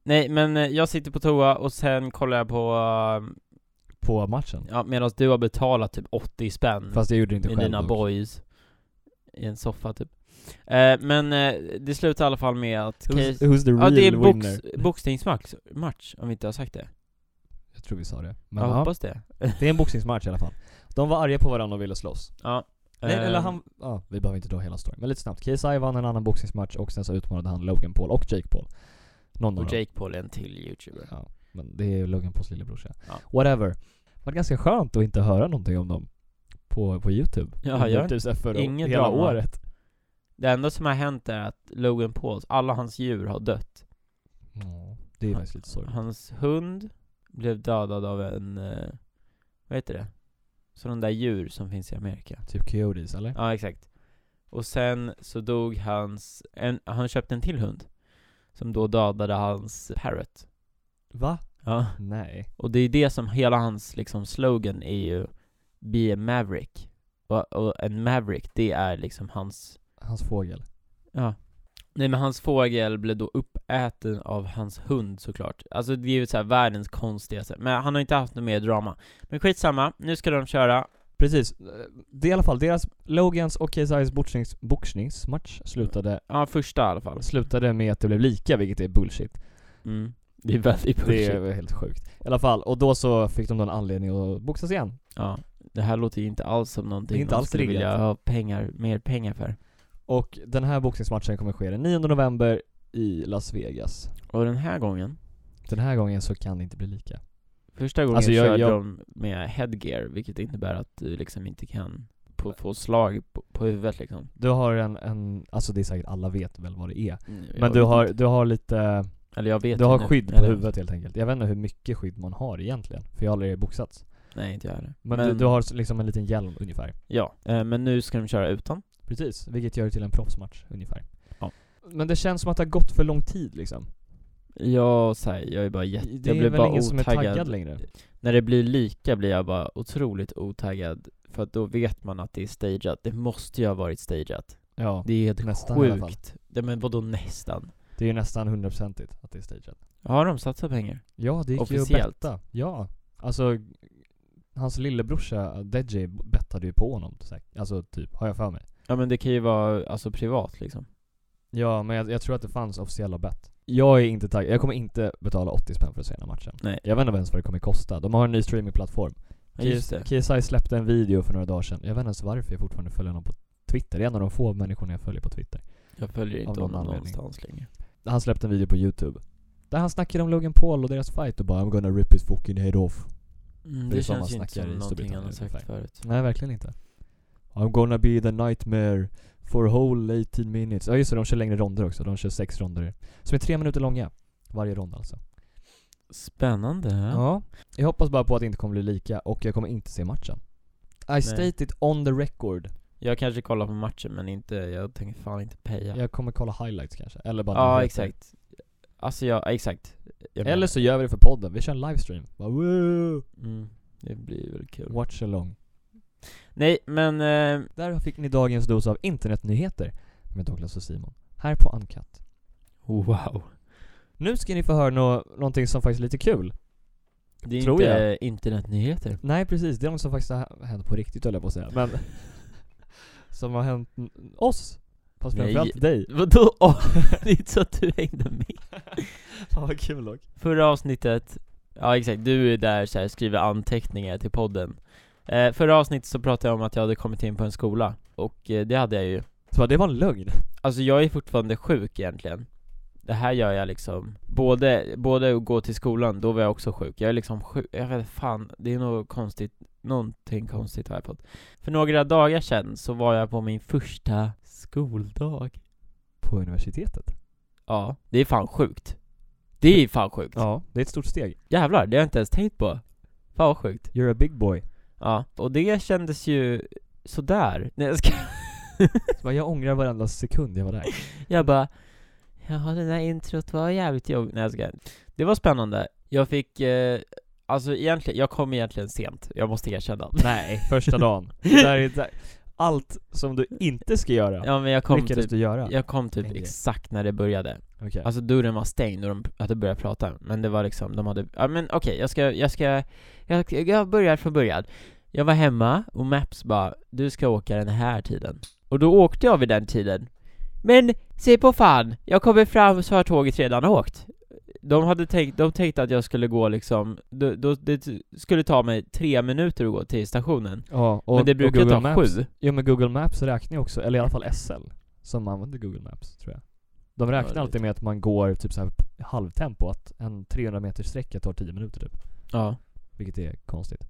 A: Nej, men eh, jag sitter på toa och sen kollar jag på, eh,
B: På matchen.
A: ja, medan du har betalat typ 80 spänn.
B: Fast jag gjorde det inte
A: med
B: själv.
A: dina
B: dock.
A: boys i en soffa typ. Eh, men eh, det slutar i alla fall med att...
B: Who's,
A: Case,
B: who's the
A: ja,
B: real
A: det är box,
B: winner?
A: boxningsmatch, match, om vi inte har sagt det.
B: Jag tror vi sa det. Men
A: Jag
B: ja,
A: hoppas det.
B: det är en boxningsmatch i alla fall. De var arga på varandra och ville slåss.
A: Ja.
B: Nej, eller
A: Ehm,
B: han... Ja, vi behöver inte dra hela storyn. Men lite snabbt. KSI vann en annan boxningsmatch och sen så utmanade han Logan Paul och Jake Paul. Någon av
A: Och
B: dem.
A: Jake Paul är en till youtuber.
B: Ja, men det är ju Logan Pauls lillebrorsa.
A: Ja.
B: Whatever. Det var ganska skönt att inte höra någonting om dem på, på youtube.
A: Ja,
B: Under
A: jag-
B: typ så här förra,
A: inget
B: hela
A: drama.
B: året.
A: Det enda som har hänt är att Logan Pauls, alla hans djur har dött.
B: Ja, det är
A: Han-
B: faktiskt lite sorgligt.
A: Hans hund blev dödad av en, eh, vad heter det? Sådana där djur som finns i Amerika.
B: Typ Coyotes, eller?
A: Ja, exakt. Och sen så dog hans, en, han köpte en till hund. Som då dödade hans parrot.
B: Va?
A: Ja.
B: Nej.
A: Och det är det som hela hans liksom slogan är ju Be a maverick. Och, och en maverick, det är liksom hans,
B: Hans fågel.
A: ja. Nej men hans fågel blev då uppäten av hans hund såklart. Alltså det är ju såhär världens konstigaste, men han har inte haft något mer drama. Men skitsamma, nu ska de köra.
B: Precis. Det är i alla fall deras, Logans och KSI's boxnings, boxningsmatch slutade,
A: Ja, första i alla fall.
B: slutade med att det blev lika, vilket är bullshit.
A: Mm. Det är väldigt
B: Det
A: bullshit.
B: är väl helt sjukt. I alla fall, och då så fick de då en anledning att boxas igen.
A: Ja. Det här låter ju inte alls som någonting
B: Det är inte
A: de
B: alls
A: skulle vilja
B: riggat.
A: ha pengar, mer pengar för.
B: Och den här boxningsmatchen kommer ske den 9 november i Las Vegas.
A: Och den här gången,
B: Den här gången så kan det inte bli lika.
A: första gången
B: Alltså, jag-
A: körde
B: jag-
A: de med headgear, vilket innebär att du liksom inte kan på, få slag på, på huvudet liksom.
B: Du har en, en, alltså det är säkert alla vet väl vad det är. Mm, Men
A: Jag
B: du
A: vet
B: har,
A: inte.
B: du har lite,
A: Eller jag vet
B: du
A: ju
B: har
A: nu.
B: skydd på
A: Eller-
B: huvudet helt enkelt. Jag vet inte hur mycket skydd man har egentligen, för jag har aldrig boxats.
A: Nej, inte jag heller.
B: Men, Du, du har liksom en liten hjälm ungefär.
A: Ja, eh, men nu ska de köra utan.
B: Precis, vilket gör det till en proffsmatch ungefär.
A: Ja.
B: Men det känns som att det har gått för lång tid liksom.
A: Jag säger, jag är bara jätte,
B: Det
A: jag
B: är
A: blir
B: väl
A: bara
B: ingen som är
A: otaggad.
B: taggad längre.
A: När det blir lika blir jag bara otroligt otaggad. För att då vet man att det är stageat. Det måste ju ha varit stageat.
B: Ja,
A: Det är helt
B: Nästan i alla fall.
A: sjukt. Det, men vadå nästan?
B: det är ju nästan hundraprocentigt att det är stageat.
A: Har de satsat pengar?
B: Ja, det gick ju att
A: Officiellt.
B: betta. Ja. Alltså, hans lillebrorsa DJ bettade ju på honom. säkert. Alltså typ, har jag för mig.
A: Ja men det kan ju vara, alltså privat liksom.
B: Ja, men jag, jag tror att det fanns officiella bett. Jag är inte taggad. Jag kommer inte betala 80 spänn för att se den här matchen.
A: Nej.
B: Jag vet inte ens vad det kommer kosta. De har en ny streamingplattform.
A: Ja, just det.
B: KSI släppte en video för några dagar sedan. Jag vet inte ens varför jag fortfarande följer honom på Twitter. Det är en av de få människorna jag följer på Twitter.
A: Jag följer
B: Av
A: inte
B: någon
A: honom
B: anledning.
A: någonstans längre.
B: Han släppte en video på YouTube. Där han snackade om Logan Paul och deras fight och bara 'I'm gonna rip his fucking head off'
A: Mm,
B: Det
A: det,
B: är som man
A: känns ju inte
B: snackar i
A: som någonting
B: Storbritannien
A: han har sagt
B: ungefär.
A: förut.
B: Nej, verkligen inte. I'm gonna be the nightmare for a whole 18 minutes. Ja just det, de kör längre ronder också. De kör sex ronder. Som är tre minuter långa. Varje rond alltså.
A: Spännande.
B: Ja. Jag hoppas bara på att det inte kommer bli lika och jag kommer inte se matchen. I state it on the record.
A: Jag kanske kollar på matchen men inte, jag tänker fan inte peja.
B: Jag kommer kolla highlights kanske. Eller bara
A: Ja,
B: nyheter.
A: exakt. Alltså jag, exakt. Jag
B: Eller
A: menar-
B: så gör vi det för podden. Vi kör en livestream. Bara, woo!
A: Mm, det blir väl kul.
B: Watch along.
A: Nej, men eh,
B: Där fick ni dagens dos av internetnyheter med Douglas och Simon. Här på Uncut.
A: wow.
B: Nu ska ni få höra nå- någonting som faktiskt är lite kul.
A: Det är
B: Tror
A: inte
B: jag.
A: internetnyheter.
B: Nej precis, det är något som faktiskt har hänt på riktigt höll jag på att säga, men Som har hänt n- oss, fast
A: Nej.
B: framförallt dig
A: Vadå? Åh, det är inte så att du hängde med.
B: Fan vad kul dock
A: Förra avsnittet, ja exakt, du är där så här, skriver anteckningar till podden. Eh, förra avsnittet så pratade jag om att jag hade kommit in på en skola, och eh, det hade jag ju.
B: Så bara, det var en lögn
A: Alltså jag är fortfarande sjuk egentligen. Det här gör jag liksom, både, både att gå till skolan, då var jag också sjuk. Jag är liksom sjuk, jag vet fan, det är något konstigt, någonting konstigt har jag fått. För några dagar sedan så var jag på min första skoldag.
B: På universitetet?
A: Ja, det är fan sjukt. Det är fan sjukt.
B: Ja, det är ett stort steg
A: Jävlar, det har jag inte ens tänkt på. Fan vad sjukt.
B: You're a big boy
A: Ja, och det kändes ju sådär. Nej, jag ska...
B: Så bara, jag ångrar varenda sekund jag var där
A: Jag bara Jaha det där introt var jävligt jobbigt, nej jag skojar. Det var spännande, jag fick eh, Alltså egentligen, jag kom egentligen sent, jag måste erkänna
B: Nej, första dagen Det där är, där. Allt som du inte ska göra,
A: Ja men jag kom
B: lyckades
A: typ,
B: du göra
A: jag kom typ
B: Nej, det-
A: exakt när det började
B: Okej,
A: Alltså dörren var stängd och de hade börjat prata, men det var liksom, de hade, ja men okej, jag ska, jag ska, jag, jag börjar från början Jag var hemma och Maps bara, du ska åka den här tiden Och då åkte jag vid den tiden Men, se på fan, jag kommer fram så har tåget redan åkt De hade tänkt, de tänkte att jag skulle gå liksom, då, då, det skulle ta mig tre minuter att gå till stationen
B: ja, och,
A: Men det
B: och
A: brukar
B: Google
A: ta
B: Maps,
A: sju
B: Ja men Google Maps räknar ju också, eller i alla fall SL Som använder Google Maps tror jag De räknar
A: det är
B: alltid med att man går typ så här p- halvtempo, att en 300 meters sträcka tar 10 minuter typ
A: Ja,
B: Vilket är konstigt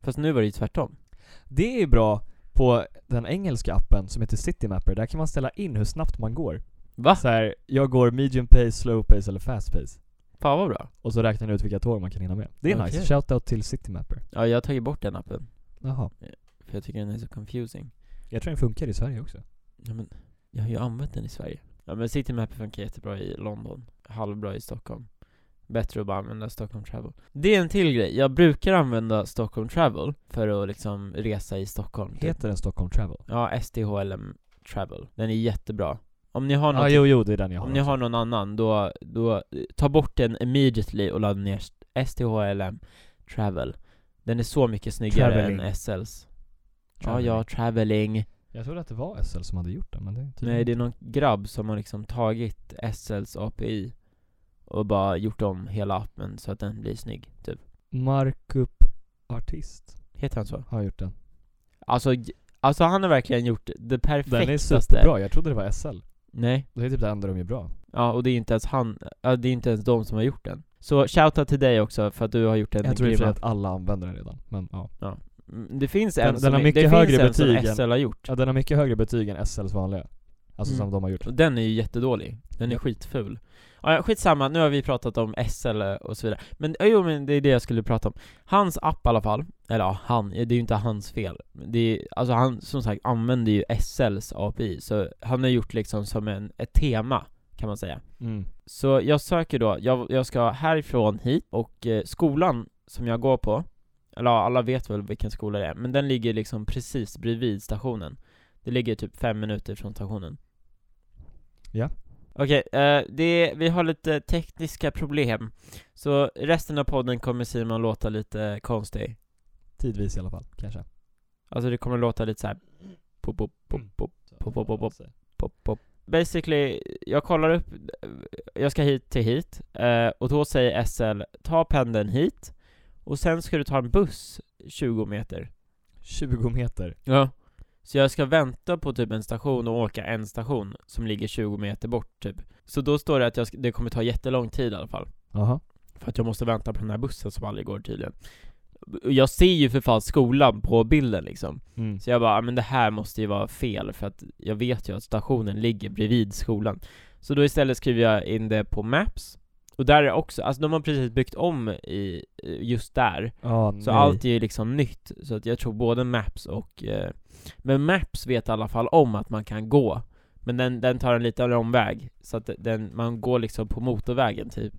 A: fast nu var det ju tvärtom
B: Det är bra på den engelska appen som heter Citymapper, där kan man ställa in hur snabbt man går
A: Va?
B: så här, jag går medium pace, slow pace eller fast pace
A: Fan vad bra
B: Och så räknar den ut vilka tåg man kan hinna med Det är nice,
A: Okej.
B: shoutout till Citymapper
A: Ja, jag har tagit bort den appen,
B: Jaha
A: för jag tycker den är så confusing
B: Jag tror den funkar i Sverige också
A: Ja, men jag har ju använt den i Sverige. Ja men Citymap funkar jättebra i London, halvbra i Stockholm. Bättre att bara använda Stockholm Travel. Det är en till grej, jag brukar använda Stockholm Travel för att liksom resa i Stockholm. typ.
B: Heter den Stockholm Travel?
A: Ja, STHLM Travel. Den är jättebra. Om ni har
B: Ja,
A: något,
B: jo, jo, det är den jag har.
A: om ni
B: också.
A: har någon annan, då, då eh, ta bort den immediately och ladda ner STHLM Travel. Den är så mycket snyggare
B: Traveling.
A: än SLs.
B: Traveling.
A: Ja, ja, traveling.
B: Jag trodde att det var SL som hade gjort den, men det är tydligen
A: Nej, det är
B: inte.
A: någon grabb som har liksom tagit SLs API och bara gjort om hela appen så att den blir snygg, typ.
B: Markup Artist
A: Heter han så?
B: har gjort den.
A: Alltså, j- alltså han har verkligen gjort det
B: Den är
A: perfektaste.
B: superbra, jag trodde det var SL.
A: Nej.
B: Det är typ det enda de gör bra.
A: Ja, och det är inte ens han, ja, det är inte ens de som har gjort den. Så shoutout till dig också för att du har gjort en
B: Jag tror i
A: grym
B: och för sig
A: app.
B: att alla använder den redan, men ja.
A: Mm, Det finns
B: Den-
A: en
B: den
A: som,
B: har
A: är-
B: mycket
A: det
B: högre
A: finns en
B: betyg
A: som
B: än-
A: SL har gjort.
B: ja den har mycket högre betyg än SLs vanliga. Alltså
A: Mm.
B: som de har gjort.
A: Och den är ju jättedålig. Den är
B: Ja.
A: skitful. Ja, ja, skitsamma, nu har vi pratat om SL och så vidare. Men ja, jo, men det är det jag skulle prata om. Hans app i alla fall, eller ja, han, det är ju inte hans fel. Det är, alltså han, som sagt, använder ju SLs API, så han har gjort liksom som en, ett tema, kan man säga.
B: Mm.
A: Så jag söker då, jag, jag ska härifrån hit och eh, skolan som jag går på, eller ja, alla vet väl vilken skola det är, men den ligger liksom precis bredvid stationen. Det ligger typ fem minuter från stationen.
B: Ja.
A: Okej, eh, det, vi har lite tekniska problem. Så resten av podden kommer Simon låta lite konstig.
B: Tidvis i alla fall, kanske.
A: Alltså det kommer låta lite så här. Pop, pop, pop,
B: Mm.
A: pop, Pop, pop, pop, pop. pop, pop. Basically, jag kollar upp, jag ska hit till hit, eh, och då säger SL ta pendeln hit, och sen ska du ta en buss 20 meter.
B: 20 meter.
A: Ja. Så jag ska vänta på typ en station och åka en station som ligger 20 meter bort typ. Så då står det att jag, ska- det kommer ta jättelång tid i alla fall.
B: Jaha.
A: För att jag måste vänta på den här bussen som aldrig går tydligen. Och Jag ser ju för fan skolan på bilden liksom.
B: Mm.
A: Så jag bara, "Ah, men det här måste ju vara fel för att jag vet ju att stationen ligger bredvid skolan. Så då istället skriver jag in det på Maps. Och där är också, alltså de har precis byggt om i, eh, just där.
B: Ja,
A: Så
B: nej.
A: allt är ju liksom nytt. Så att jag tror både Maps och... Eh, men Maps vet i alla fall om att man kan gå. Men den, den tar en liten omväg. Så att den, man går liksom på motorvägen typ.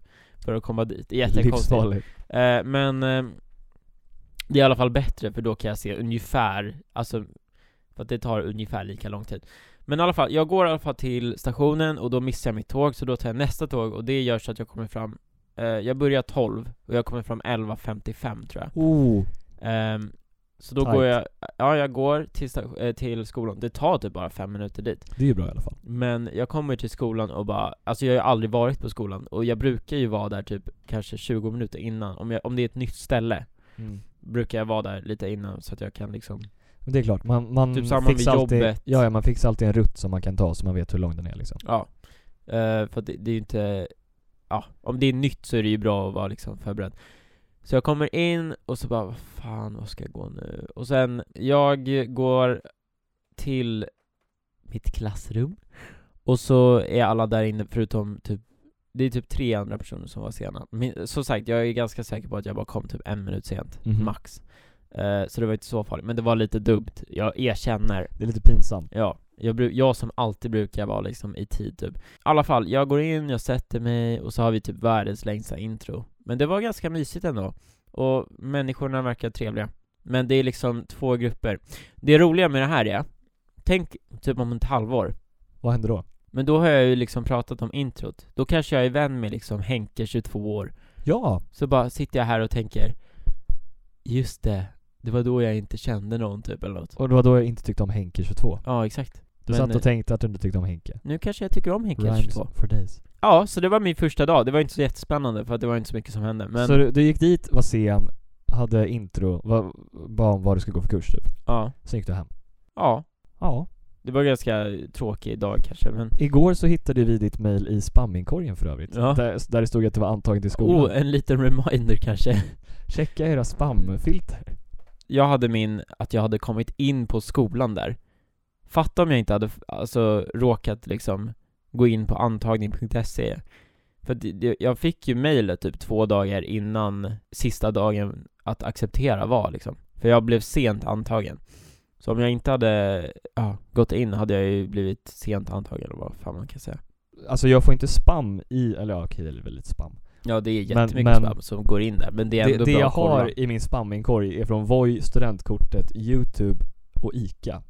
A: För att komma dit. Det är Jättekonstigt.
B: Livsfarligt.
A: Eh, men eh, det är i alla fall bättre för då kan jag se ungefär, alltså för att det tar ungefär lika lång tid. Men i alla fall, jag går i alla fall till stationen och då missar jag mitt tåg så då tar jag nästa tåg och det gör så att jag kommer fram, eh, jag börjar 12 och jag kommer fram 11.55 tror jag.
B: Oh.
A: Ehm, så då
B: Tight.
A: går jag, ja jag går till, sta- eh, till skolan, det tar typ bara fem minuter dit.
B: Det är ju bra i alla fall.
A: Men jag kommer till skolan och bara, alltså jag har ju aldrig varit på skolan och jag brukar ju vara där typ kanske 20 minuter innan, om, jag, om det är ett nytt ställe Mm. brukar jag vara där lite innan så att jag kan liksom
B: Men det är klart, man, man
A: Typ samma vid
B: fixar alltid,
A: jobbet.
B: Ja, ja, man fixar alltid en rutt som man kan ta så man vet hur lång den är liksom.
A: Ja, Eh, för att det, det är ju inte, ja, om det är nytt så är det ju bra att vara liksom förberedd. Så jag kommer in och så bara, vad fan, vad ska jag gå nu? Och sen, jag går till mitt klassrum, och så är alla där inne förutom typ det är typ tre andra personer som var sena. Men, som sagt, jag är ganska säker på att jag bara kom typ en minut sent,
B: Mhm.
A: max. Eh, så det var inte så farligt, men det var lite dumt. Jag erkänner.
B: Det är lite pinsamt.
A: Ja, jag, bru- jag som alltid brukar vara liksom i tid typ. I alla fall, jag går in, jag sätter mig och så har vi typ världens längsta intro. Men det var ganska mysigt ändå. Och människorna verkar trevliga. Men det är liksom två grupper. Det roliga med det här är, tänk typ om ett halvår.
B: Vad händer då?
A: Men då har jag ju liksom pratat om introt. Då kanske jag är vän med liksom Henke, 22 år.
B: Ja!
A: Så bara sitter jag här och tänker, just det, det var då jag inte kände någon typ eller något.
B: Och det var då jag inte tyckte om Henke 22.
A: Ja, exakt.
B: Du
A: Men,
B: satt
A: eh,
B: och tänkte att du inte tyckte om Henke.
A: Nu kanske jag tycker om Henke, 22.
B: for days.
A: Ja, så det var min första dag. Det var inte så jättespännande för att det var inte så mycket som hände. Men
B: Så du, du gick dit, var sen, hade intro, var, bara om vad du skulle gå för kurs typ.
A: ja,
B: Sen gick du hem.
A: ja.
B: Ja.
A: Det var en ganska tråkig dag kanske men...
B: Igår så hittade vi ditt mail i spaminkorgen för övrigt.
A: Ja.
B: Där, där det stod att du var antagen till skolan.
A: Oh, en liten reminder kanske.
B: Checka era spamfilter.
A: Jag hade min, att jag hade kommit in på skolan där. Fatta om jag inte hade, alltså råkat liksom gå in på antagning.se. För att det- det- jag fick ju mejlet typ två dagar innan sista dagen att acceptera var liksom. För jag blev sent antagen. Så om jag inte hade ja, gått in hade jag ju blivit sent antagen eller vad fan man kan säga.
B: Alltså jag får inte spam i, eller ja, okej det är väl lite spam.
A: Ja det är
B: Men-
A: jättemycket
B: men-
A: spam som går in där, men det är ändå
B: Det, det
A: bra
B: jag
A: att kolla.
B: har i min spamminkorg är från Voi, studentkortet, youtube och ICA.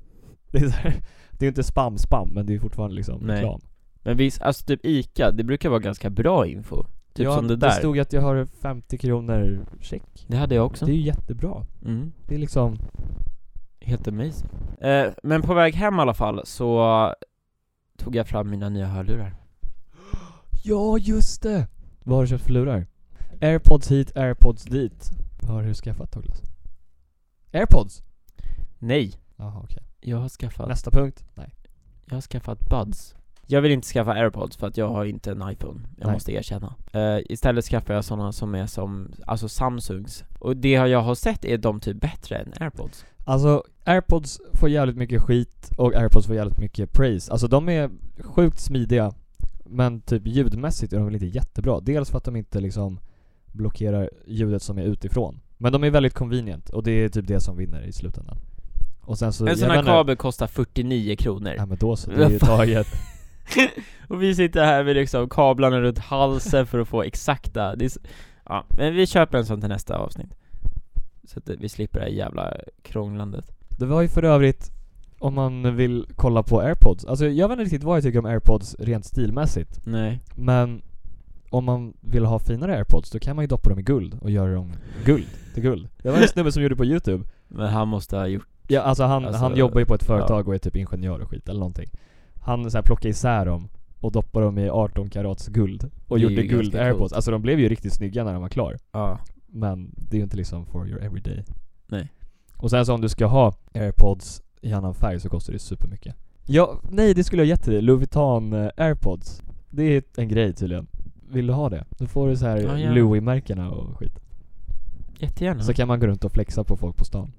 B: Det är så här, Det är inte spam-spam, men det är fortfarande liksom
A: Nej.
B: reklam.
A: Men visst, alltså typ ICA, det brukar vara ganska bra info. Typ
B: ja,
A: som det där.
B: Det stod att jag har 50 kronor check.
A: Det hade jag också.
B: Det är ju jättebra.
A: Mm.
B: Det är liksom...
A: Helt amazing. Eh, men på väg hem i alla fall så tog jag fram mina nya hörlurar.
B: Ja, just det! Vad har du köpt för lurar? Airpods hit, airpods dit. Vad har du skaffat Douglas? Airpods?
A: Nej,
B: Jaha, okej.
A: jag har skaffat,
B: Nästa punkt? Nej.
A: jag har skaffat buds. Jag vill inte skaffa airpods för att jag har inte en iPhone, jag
B: Nej.
A: måste erkänna. Eh, istället skaffar jag sådana som är som, alltså Samsungs. Och det jag har sett är de typ bättre än airpods.
B: Alltså, airpods får jävligt mycket skit och airpods får jävligt mycket praise. Alltså de är sjukt smidiga, men typ ljudmässigt är de väl inte jättebra. Dels för att de inte liksom blockerar ljudet som är utifrån. Men de är väldigt convenient och det är typ det som vinner i slutändan. Och sen så...
A: En sån
B: jag
A: här
B: vet inte-
A: kabel kostar 49 kronor.
B: Ja men då så, det är ju taget.
A: Och vi sitter här med liksom kablarna runt halsen för att få exakta, det är, s- ja, men vi köper en sån till nästa avsnitt. Så att eh, vi slipper det här jävla krånglandet.
B: Det var ju för övrigt, om man vill kolla på airpods, alltså jag vet inte riktigt vad jag tycker om airpods rent stilmässigt,
A: Nej.
B: men om man vill ha finare airpods då kan man ju doppa dem i guld och göra dem guld till guld. Det var en snubbe som gjorde på youtube.
A: Men han måste ha gjort,
B: Ja, alltså han,
A: Alltså,
B: han jobbar ju på ett företag och är typ ingenjör och skit eller någonting. Han så här plockade isär dem och doppade dem i 18 karats guld och
A: Det är
B: gjorde
A: ju
B: guld
A: ganska
B: airpods.
A: coolt.
B: Alltså de blev ju riktigt snygga när de var klar.
A: ja.
B: Men det är ju inte liksom for your everyday.
A: Nej.
B: Och sen så om du ska ha airpods i annan färg så kostar det supermycket. Ja, nej det skulle jag gett till dig. Louis Vuitton eh, airpods. Det är en grej tydligen. Vill du ha det? Då får du så här
A: Ja, gärna.
B: Louis-märkena och skit.
A: Jättegärna.
B: Så kan man gå runt och flexa på folk på stan.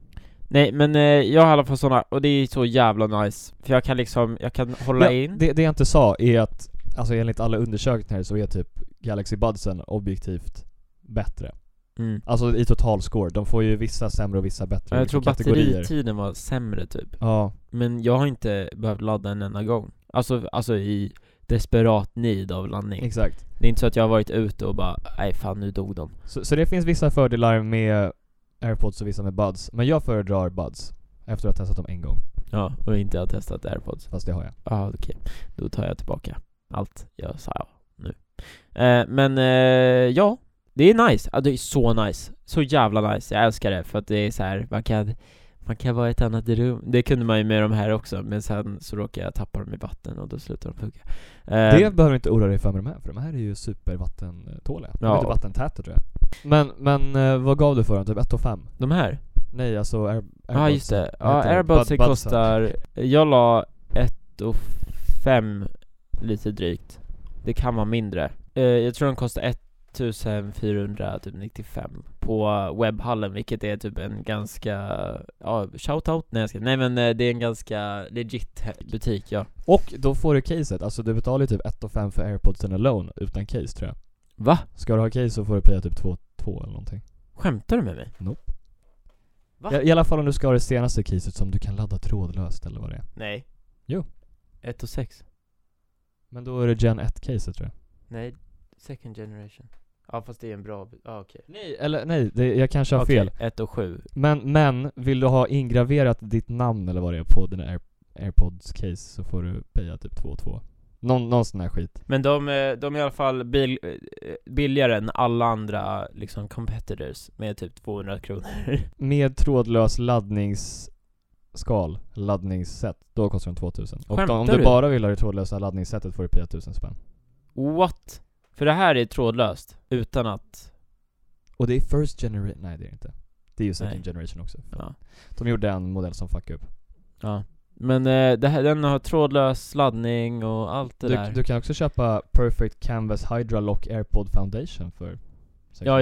A: Nej men eh, jag har i alla fall såna, och det är så jävla nice. För jag kan liksom, jag kan hålla
B: Ja,
A: in.
B: Det, det jag inte sa är att, alltså enligt alla undersökningar så är typ Galaxy Budsen objektivt bättre.
A: Mm.
B: Alltså i totalscore. De får ju vissa sämre och vissa bättre
A: Ja, Jag
B: olika
A: tror
B: kategorier.
A: batteritiden var sämre typ.
B: Ja,
A: Men jag har inte behövt ladda en enda gång. Alltså, alltså i desperat need av landning.
B: exakt.
A: Det är inte så att jag har varit ute och bara, nej fan nu dog de.
B: Så, så det finns vissa fördelar med airpods och vissa med buds. Men jag föredrar buds. Efter att ha testat dem en gång.
A: Ja, och inte har testat airpods.
B: Fast det har jag.
A: Ja, ah, okej. Då tar jag tillbaka allt jag sa nu. Eh, men eh, ja, det är nice. Ja, det är så nice. Så jävla nice. Jag älskar det för att det är så här, man kan, man kan vara i ett annat rum. Det kunde man ju med de här också, men sen så råkade jag tappa dem i vatten och då slutade de funka. Eh,
B: Det behöver du inte oroa dig för med de här. För de här är ju supervattentåliga. De är
A: Ja.
B: inte vattentäta tror jag. Men, men eh, vad gav du för dem? Typ 1 5?
A: De här?
B: Nej alltså air, airpods.
A: Ja, ah, just det. Ja,
B: Vad heter det?
A: airpods
B: Bud- budsen.
A: kostar... Jag la 1 och fem lite drygt. Det kan vara mindre. Eh, jag tror de kostar 1495 på webbhallen, vilket är typ en ganska... Ja, shoutout? Nej, jag ska, nej men eh, det är en ganska legit he- butik, ja.
B: Och då får du caset, alltså du betalar ju typ 1 5 för airpodsen alone utan case tror jag.
A: Va?
B: Ska du ha case så får du paya typ 2 2 eller någonting.
A: Skämtar du med mig?
B: Nope.
A: Va?
B: I, I alla fall om du ska ha det senaste caset som du kan ladda trådlöst eller vad det är.
A: Nej.
B: Jo.
A: 1 och 6.
B: Men då är det gen 1 caset tror jag.
A: Nej, second generation. Ja fast det är en bra... bu- Ja ah, okej.
B: Nej, eller nej, det, jag kanske har fel.
A: 1 och 7.
B: Men, men vill du ha ingraverat ditt namn eller vad det är på dina air, airpods case så får du paya typ 2 2. Någon, någon sån här skit.
A: Men de, eh, de är i alla fall bil, eh, billigare än alla andra liksom competitors med typ 200 kronor.
B: Med trådlös laddningsskal, laddningssätt, då kostar den 2000. Och då,
A: Skämtar
B: om du,
A: du?
B: bara vill ha det trådlösa laddningssättet får du paya 1000 spänn.
A: What? För det här är trådlöst, utan att...
B: Och det är first generation, nej det är det inte. Det är ju second
A: Nej.
B: generation också.
A: Ja.
B: De gjorde en modell som fuckade upp.
A: ja. Men eh, det här, den har trådlös laddning och allt det
B: Du,
A: där.
B: du kan också köpa Perfect Canvas Hydra Lock Airpod Foundation för 600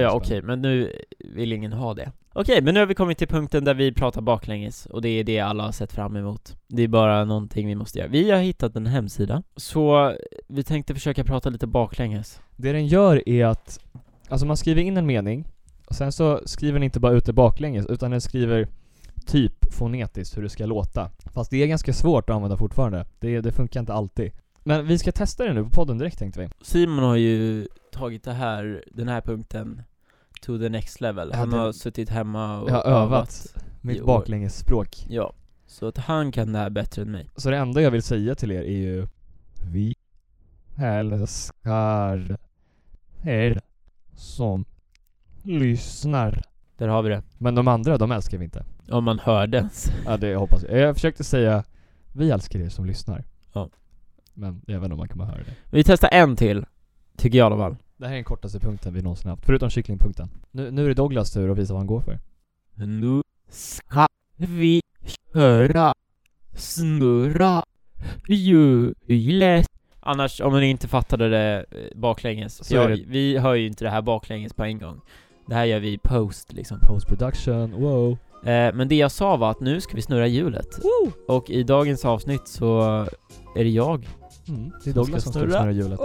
A: ja, ja,
B: spänn.
A: okej, men nu vill ingen ha det. Okej, men nu har vi kommit till punkten där vi pratar baklänges, och det är det alla har sett fram emot. Det är bara någonting vi måste göra. Vi har hittat en hemsida, så vi tänkte försöka prata lite baklänges.
B: Det den gör är att, alltså man skriver in en mening, och sen så skriver den inte bara ut det baklänges, utan den skriver typ fonetiskt hur det ska låta. Fast det är ganska svårt att använda fortfarande. Det, det funkar inte alltid. Men vi ska testa det nu på podden direkt tänkte vi.
A: Simon har ju tagit det här, den här punkten to the next level.
B: Ja,
A: Han
B: det-
A: har suttit hemma och
B: Jag har övat. Mitt
A: Jo.
B: baklängesspråk.
A: Ja. Så att han kan det här bättre än mig.
B: Så det enda jag vill säga till er är ju Vi älskar er som lyssnar.
A: Där har vi det.
B: Men de andra, de älskar vi inte.
A: Om man hörde ens.
B: Ja, det hoppas jag. Jag försökte säga vi älskar er som lyssnar.
A: Ja.
B: Men jag vet inte om man kommer höra det.
A: Vi testar en till. Tycker jag i alla fall.
B: Det här är den kortaste punkten vi någonsin haft, förutom kycklingpunkten. Nu, nu är det Douglas tur att visa vad han går för.
A: Nu ska vi köra snurra hjulet. Annars, om ni inte fattade det eh, baklänges.
B: Så
A: Så
B: är
A: jag,
B: det-
A: Vi hör ju inte det här baklänges på en gång. Det här gör vi i post liksom.
B: Post production, wow.
A: Eh, men det jag sa var att nu ska vi snurra hjulet. Och i dagens avsnitt så är det jag.
B: Mm, det är Douglas som ska
A: snurra.
B: snurra hjulet.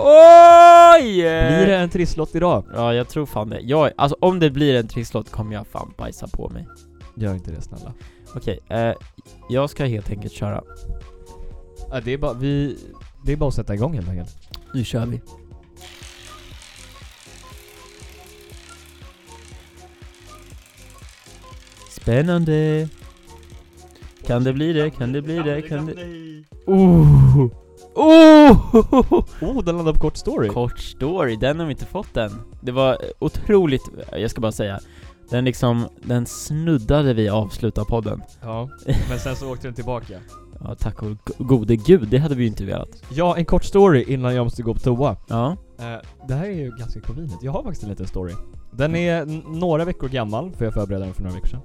A: Oj!
B: Blir det en trisslott idag?
A: Ja, jag tror fan det. Jag, alltså om det blir en trisslott kommer jag fan bajsa på mig.
B: Gör inte det snälla.
A: Okej, eh, jag ska helt enkelt köra.
B: Ja, det är bara, vi... Det är bara att sätta igång helt enkelt.
A: Nu kör vi. Spännande! Kan det bli det? Kan det bli det? Kan det... Oh! Oh!
B: Oh, den landade på kort story.
A: Kort story, den har vi inte fått än. Det var otroligt, jag ska bara säga, den liksom, den snuddade vi avsluta podden.
B: Ja, men sen så åkte den tillbaka.
A: Ja, tack och go- gode gud, det hade vi ju inte velat.
B: Ja, en kort story innan jag måste gå på toa.
A: Ja,
B: Eh, det här är ju ganska convenient. Jag har faktiskt en liten story. Den är
A: Mm.
B: n- några veckor gammal, för jag förberedde den för några veckor sedan.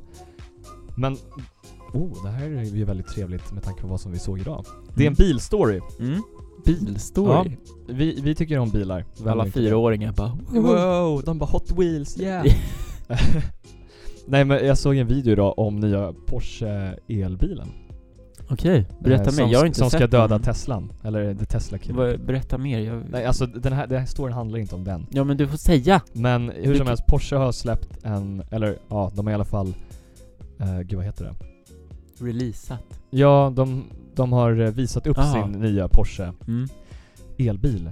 B: Men, oh, det här är ju väldigt trevligt med tanke på vad som vi såg idag. Det är en bilstory.
A: mm. bilstory.
B: Vi, vi tycker om bilar. Vem
A: Alla
B: gör inte
A: fyraåringar bara
B: det? Wow, de bara hot wheels, yeah! Nej men jag såg en video idag om nya Porsche elbilen.
A: Okej, berätta
B: Eh, som,
A: mer. Jag har inte
B: Som
A: sett
B: ska döda
A: den.
B: Teslan, eller det Tesla killen.
A: Vad- Berätta mer. Jag...
B: Nej alltså den här, den här storyn handlar inte om den.
A: Ja men du får säga.
B: Men hur
A: Vilket-
B: som helst, Porsche har släppt en, eller ja, de har i alla fall, eh, gud vad heter det?
A: Releasat.
B: Ja, de, de har eh, visat upp
A: Aha.
B: sin nya Porsche
A: Mm.
B: elbil.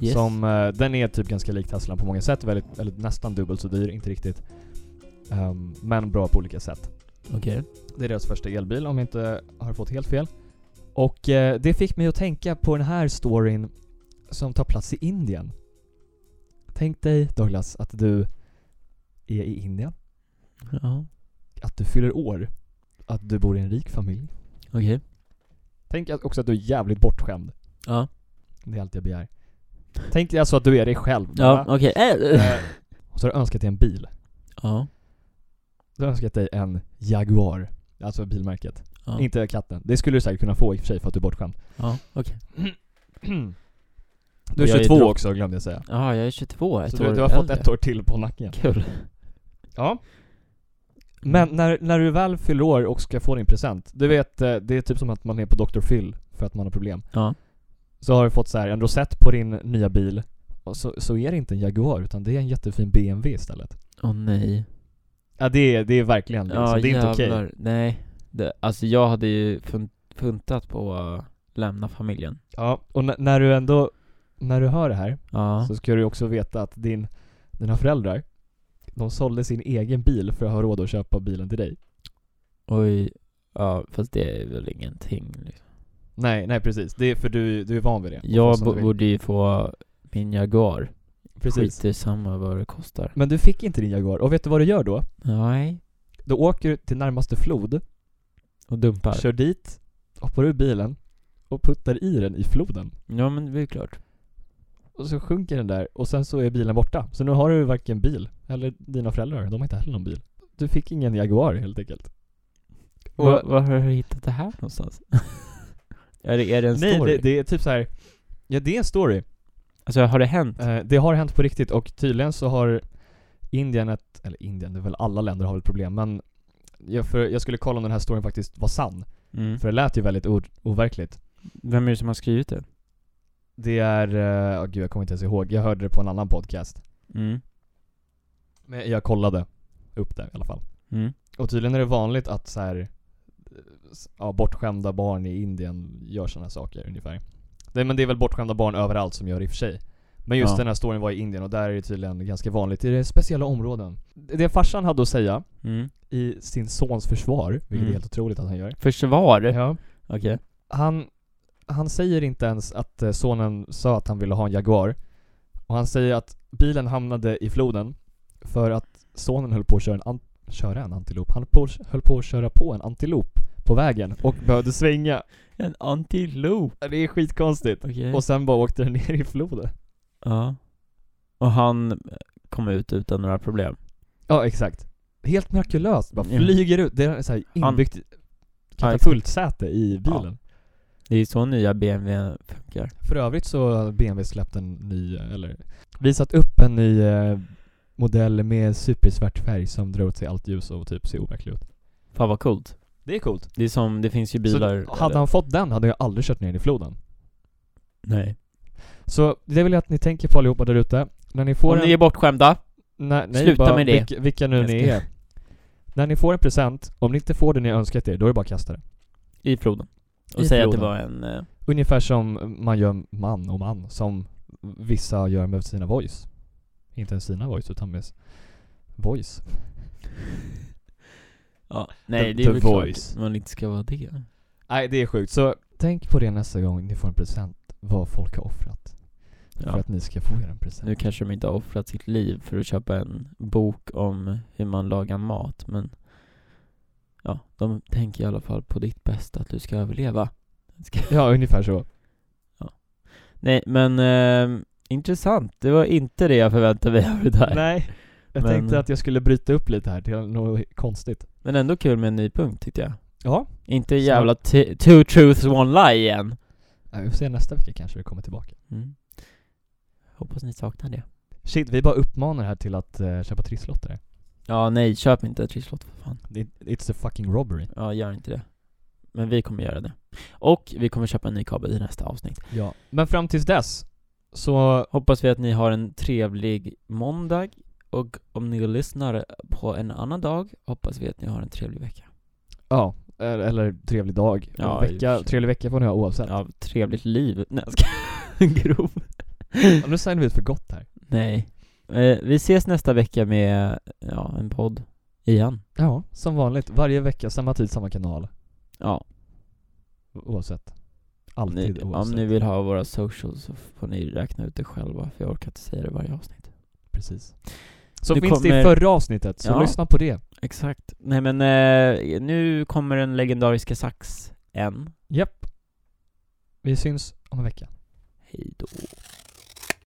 A: Yes.
B: Som, eh, den är typ ganska lik Teslan på många sätt, väldigt, eller nästan dubbelt så dyr, inte riktigt. Ehm, men bra på olika sätt.
A: Okej.
B: Det är deras första elbil om jag inte har fått helt fel. Och eh, det fick mig att tänka på den här storyn som tar plats i Indien. Tänk dig Douglas att du är i Indien.
A: Ja.
B: att du fyller år, att du bor i en rik familj.
A: Okej.
B: Tänk att- också att du är jävligt bortskämd.
A: Ja.
B: Det är allt jag begär. Tänk dig alltså att du är dig själv.
A: Ja,
B: va?
A: okej. Äh.
B: Eh, Och så har du önskat dig en bil.
A: Ja.
B: Du har önskat dig en Jaguar. Alltså bilmärket.
A: Ja.
B: Inte katten. Det skulle du säkert kunna få i och för sig för att du är bortskämd.
A: Ja, okej.
B: Du är
A: Jag är
B: 22
A: dropp.
B: också glömde jag säga.
A: Ja, jag är 22. Ett
B: Så du,
A: år
B: du har fått
A: äldre.
B: ett år till på nacken.
A: Kul.
B: Ja. Men när, när du väl fyller år och ska få din present. Du vet, eh, det är typ som att man är på Dr. Phil för att man har problem.
A: Ja.
B: Så har du fått så här en rosett på din nya bil. Och så, så är det inte en Jaguar utan det är en jättefin BMW istället.
A: Åh nej.
B: Ja det är, det är verkligen det. så det är inte okej.
A: jävlar. Nej. Det, alltså jag hade ju fun- funtat på att lämna familjen.
B: Ja, och n- när du ändå, när du hör det här
A: Ja.
B: så ska du också veta att din, dina föräldrar, de sålde sin egen bil för att ha råd att köpa bilen till dig.
A: Oj. Ja, fast det är väl ingenting liksom.
B: Nej, nej precis. Det är för du, du är van vid det.
A: Jag
B: Fast du
A: bo-
B: vill.
A: borde ju få min Jaguar.
B: Precis.
A: Skit i samma vad det kostar.
B: Men du fick inte din Jaguar och vet du vad du gör då?
A: Nej.
B: Då åker du till närmaste flod,
A: Och dumpar.
B: kör dit, hoppar ur bilen och puttar i den i floden.
A: Ja men det är klart.
B: Och så sjunker den där och sen så är bilen borta. Så nu har du varken bil, eller dina föräldrar, de har inte heller någon bil. Du fick ingen Jaguar helt enkelt. Och-
A: Var, var har du hittat det här någonstans? är, det, är det en
B: Nej,
A: story?
B: det, det är typ så här. ja det är en story.
A: Alltså har det hänt?
B: Eh, det har hänt på riktigt och tydligen så har Indien ett, eller Indien, det är väl alla länder har väl problem, men jag, för, jag skulle kolla om den här storyn faktiskt var sann.
A: Mm.
B: För det lät ju väldigt o- overkligt.
A: Vem är det som har skrivit det?
B: Det är, eh, åh gud jag kommer inte ens ihåg, jag hörde det på en annan podcast.
A: Mm.
B: Men jag kollade upp det i alla fall.
A: Mm.
B: Och tydligen är det vanligt att så här, s- ja, bortskämda barn i Indien gör sådana saker ungefär. Det, men det är väl bortskämda barn överallt som gör det i och för sig. Men just
A: Ja.
B: den här storyn var i Indien och där är det tydligen ganska vanligt i det speciella områden. Det det farsan hade att säga
A: Mm.
B: i sin sons försvar, vilket
A: Mm.
B: är helt otroligt att han gör.
A: Försvar?
B: Ja.
A: Okej.
B: Han, han säger inte ens att eh, sonen sa att han ville ha en Jaguar. Och han säger att bilen hamnade i floden för att sonen höll på att köra en, an- köra en antilop. Han på, höll på att köra på en antilop på vägen och behövde svänga.
A: En antilop.
B: Det är skitkonstigt.
A: Okej.
B: Och sen bara åkte den ner i floden.
A: Ja. Och han eh, kom ut utan några problem.
B: Ja, exakt. Helt mirakulöst. Bara
A: Ja.
B: flyger ut. Det är så här
A: Mm. Han-
B: inbyggt
A: exakt.
B: katapultsäte i bilen.
A: Det är ju så nya BMW funkar.
B: För övrigt så har BMW släppt en ny, eller visat upp en ny eh, modell med supersvart färg som drar åt sig allt ljus och typ ser overklig ut.
A: Fan vad coolt.
B: Det är coolt.
A: Det är som, det finns ju bilar...
B: så hade han fått den hade jag aldrig kört ner i floden.
A: Nej.
B: Så det vill jag att ni tänker på allihopa där ute. När ni får
A: Om
B: en...
A: ni är bortskämda, E
B: nej, nej,
A: sluta
B: bara
A: med det.
B: Vilka, vilka nu
A: Jag
B: ni
A: ska-
B: är. När ni får en present, om ni inte får det ni önskat er, då är det bara att kasta det.
A: i floden. Och
B: I
A: säga att det
B: floden.
A: var en... eh,
B: Ungefär som man gör man och man, som vissa gör med sina voice. Inte ens sina voice, utan med s- voice.
A: Ja. Nej,
B: The-
A: det är
B: the
A: väl voice.
B: voice.
A: klart man inte ska vara det.
B: Nej, det är sjukt. Så tänk på det nästa gång ni får en present, vad folk har offrat. För
A: Ja.
B: att ni ska få er en present.
A: Nu kanske de inte har offrat sitt liv för att köpa en bok om hur man lagar mat, men... Ja, de tänker i alla fall på ditt bästa, att du ska överleva. Ska-
B: Ja, ungefär så.
A: Nej, men... Eh, intressant. Det var inte det jag förväntade mig av det där.
B: Nej. Jag
A: Men-
B: tänkte att jag skulle bryta upp lite här till något konstigt.
A: Men ändå kul med en ny punkt, tyckte jag.
B: Ja.
A: Inte jävla t- two truths one lie igen.
B: Nej, vi får se nästa vecka kanske vi kommer tillbaka.
A: Mm. Hoppas ni saknar det.
B: Shit, vi bara uppmanar här till att eh, köpa trisslotter. här.
A: Ja, nej, köp inte trisslott för fan.
B: It, it's a fucking robbery.
A: Ja, gör inte det. Men vi kommer göra det. Och vi kommer köpa en ny kabel i nästa avsnitt.
B: Ja. Men fram tills dess, så
A: Hoppas vi att ni har en trevlig måndag. Och om ni lyssnar på en annan dag, hoppas vi att ni har en trevlig vecka.
B: Ja, eller, eller trevlig dag.
A: Ja, i och för
B: vecka,
A: sig.
B: trevlig vecka får ni ha oavsett.
A: Ja, trevligt liv. Nej, jag ska- Grov.
B: Ja, nu signar vi ut för gott här.
A: Nej. Eh, vi ses nästa vecka med, ja, en podd. Igen.
B: Ja, som vanligt. Varje vecka, samma tid, samma kanal.
A: Ja.
B: O- Oavsett.
A: Om ni,
B: Alltid
A: om
B: oavsett.
A: ni vill ha våra socials så får ni räkna ut det själva, för jag orkar inte säga det i varje avsnitt.
B: Precis. Så
A: Nu
B: finns det i
A: kommer-
B: förra avsnittet, så
A: Ja.
B: lyssna på det.
A: Exakt. Nej men, eh, nu kommer den legendariska sax en.
B: Japp. Vi syns om en vecka.
A: Hej då.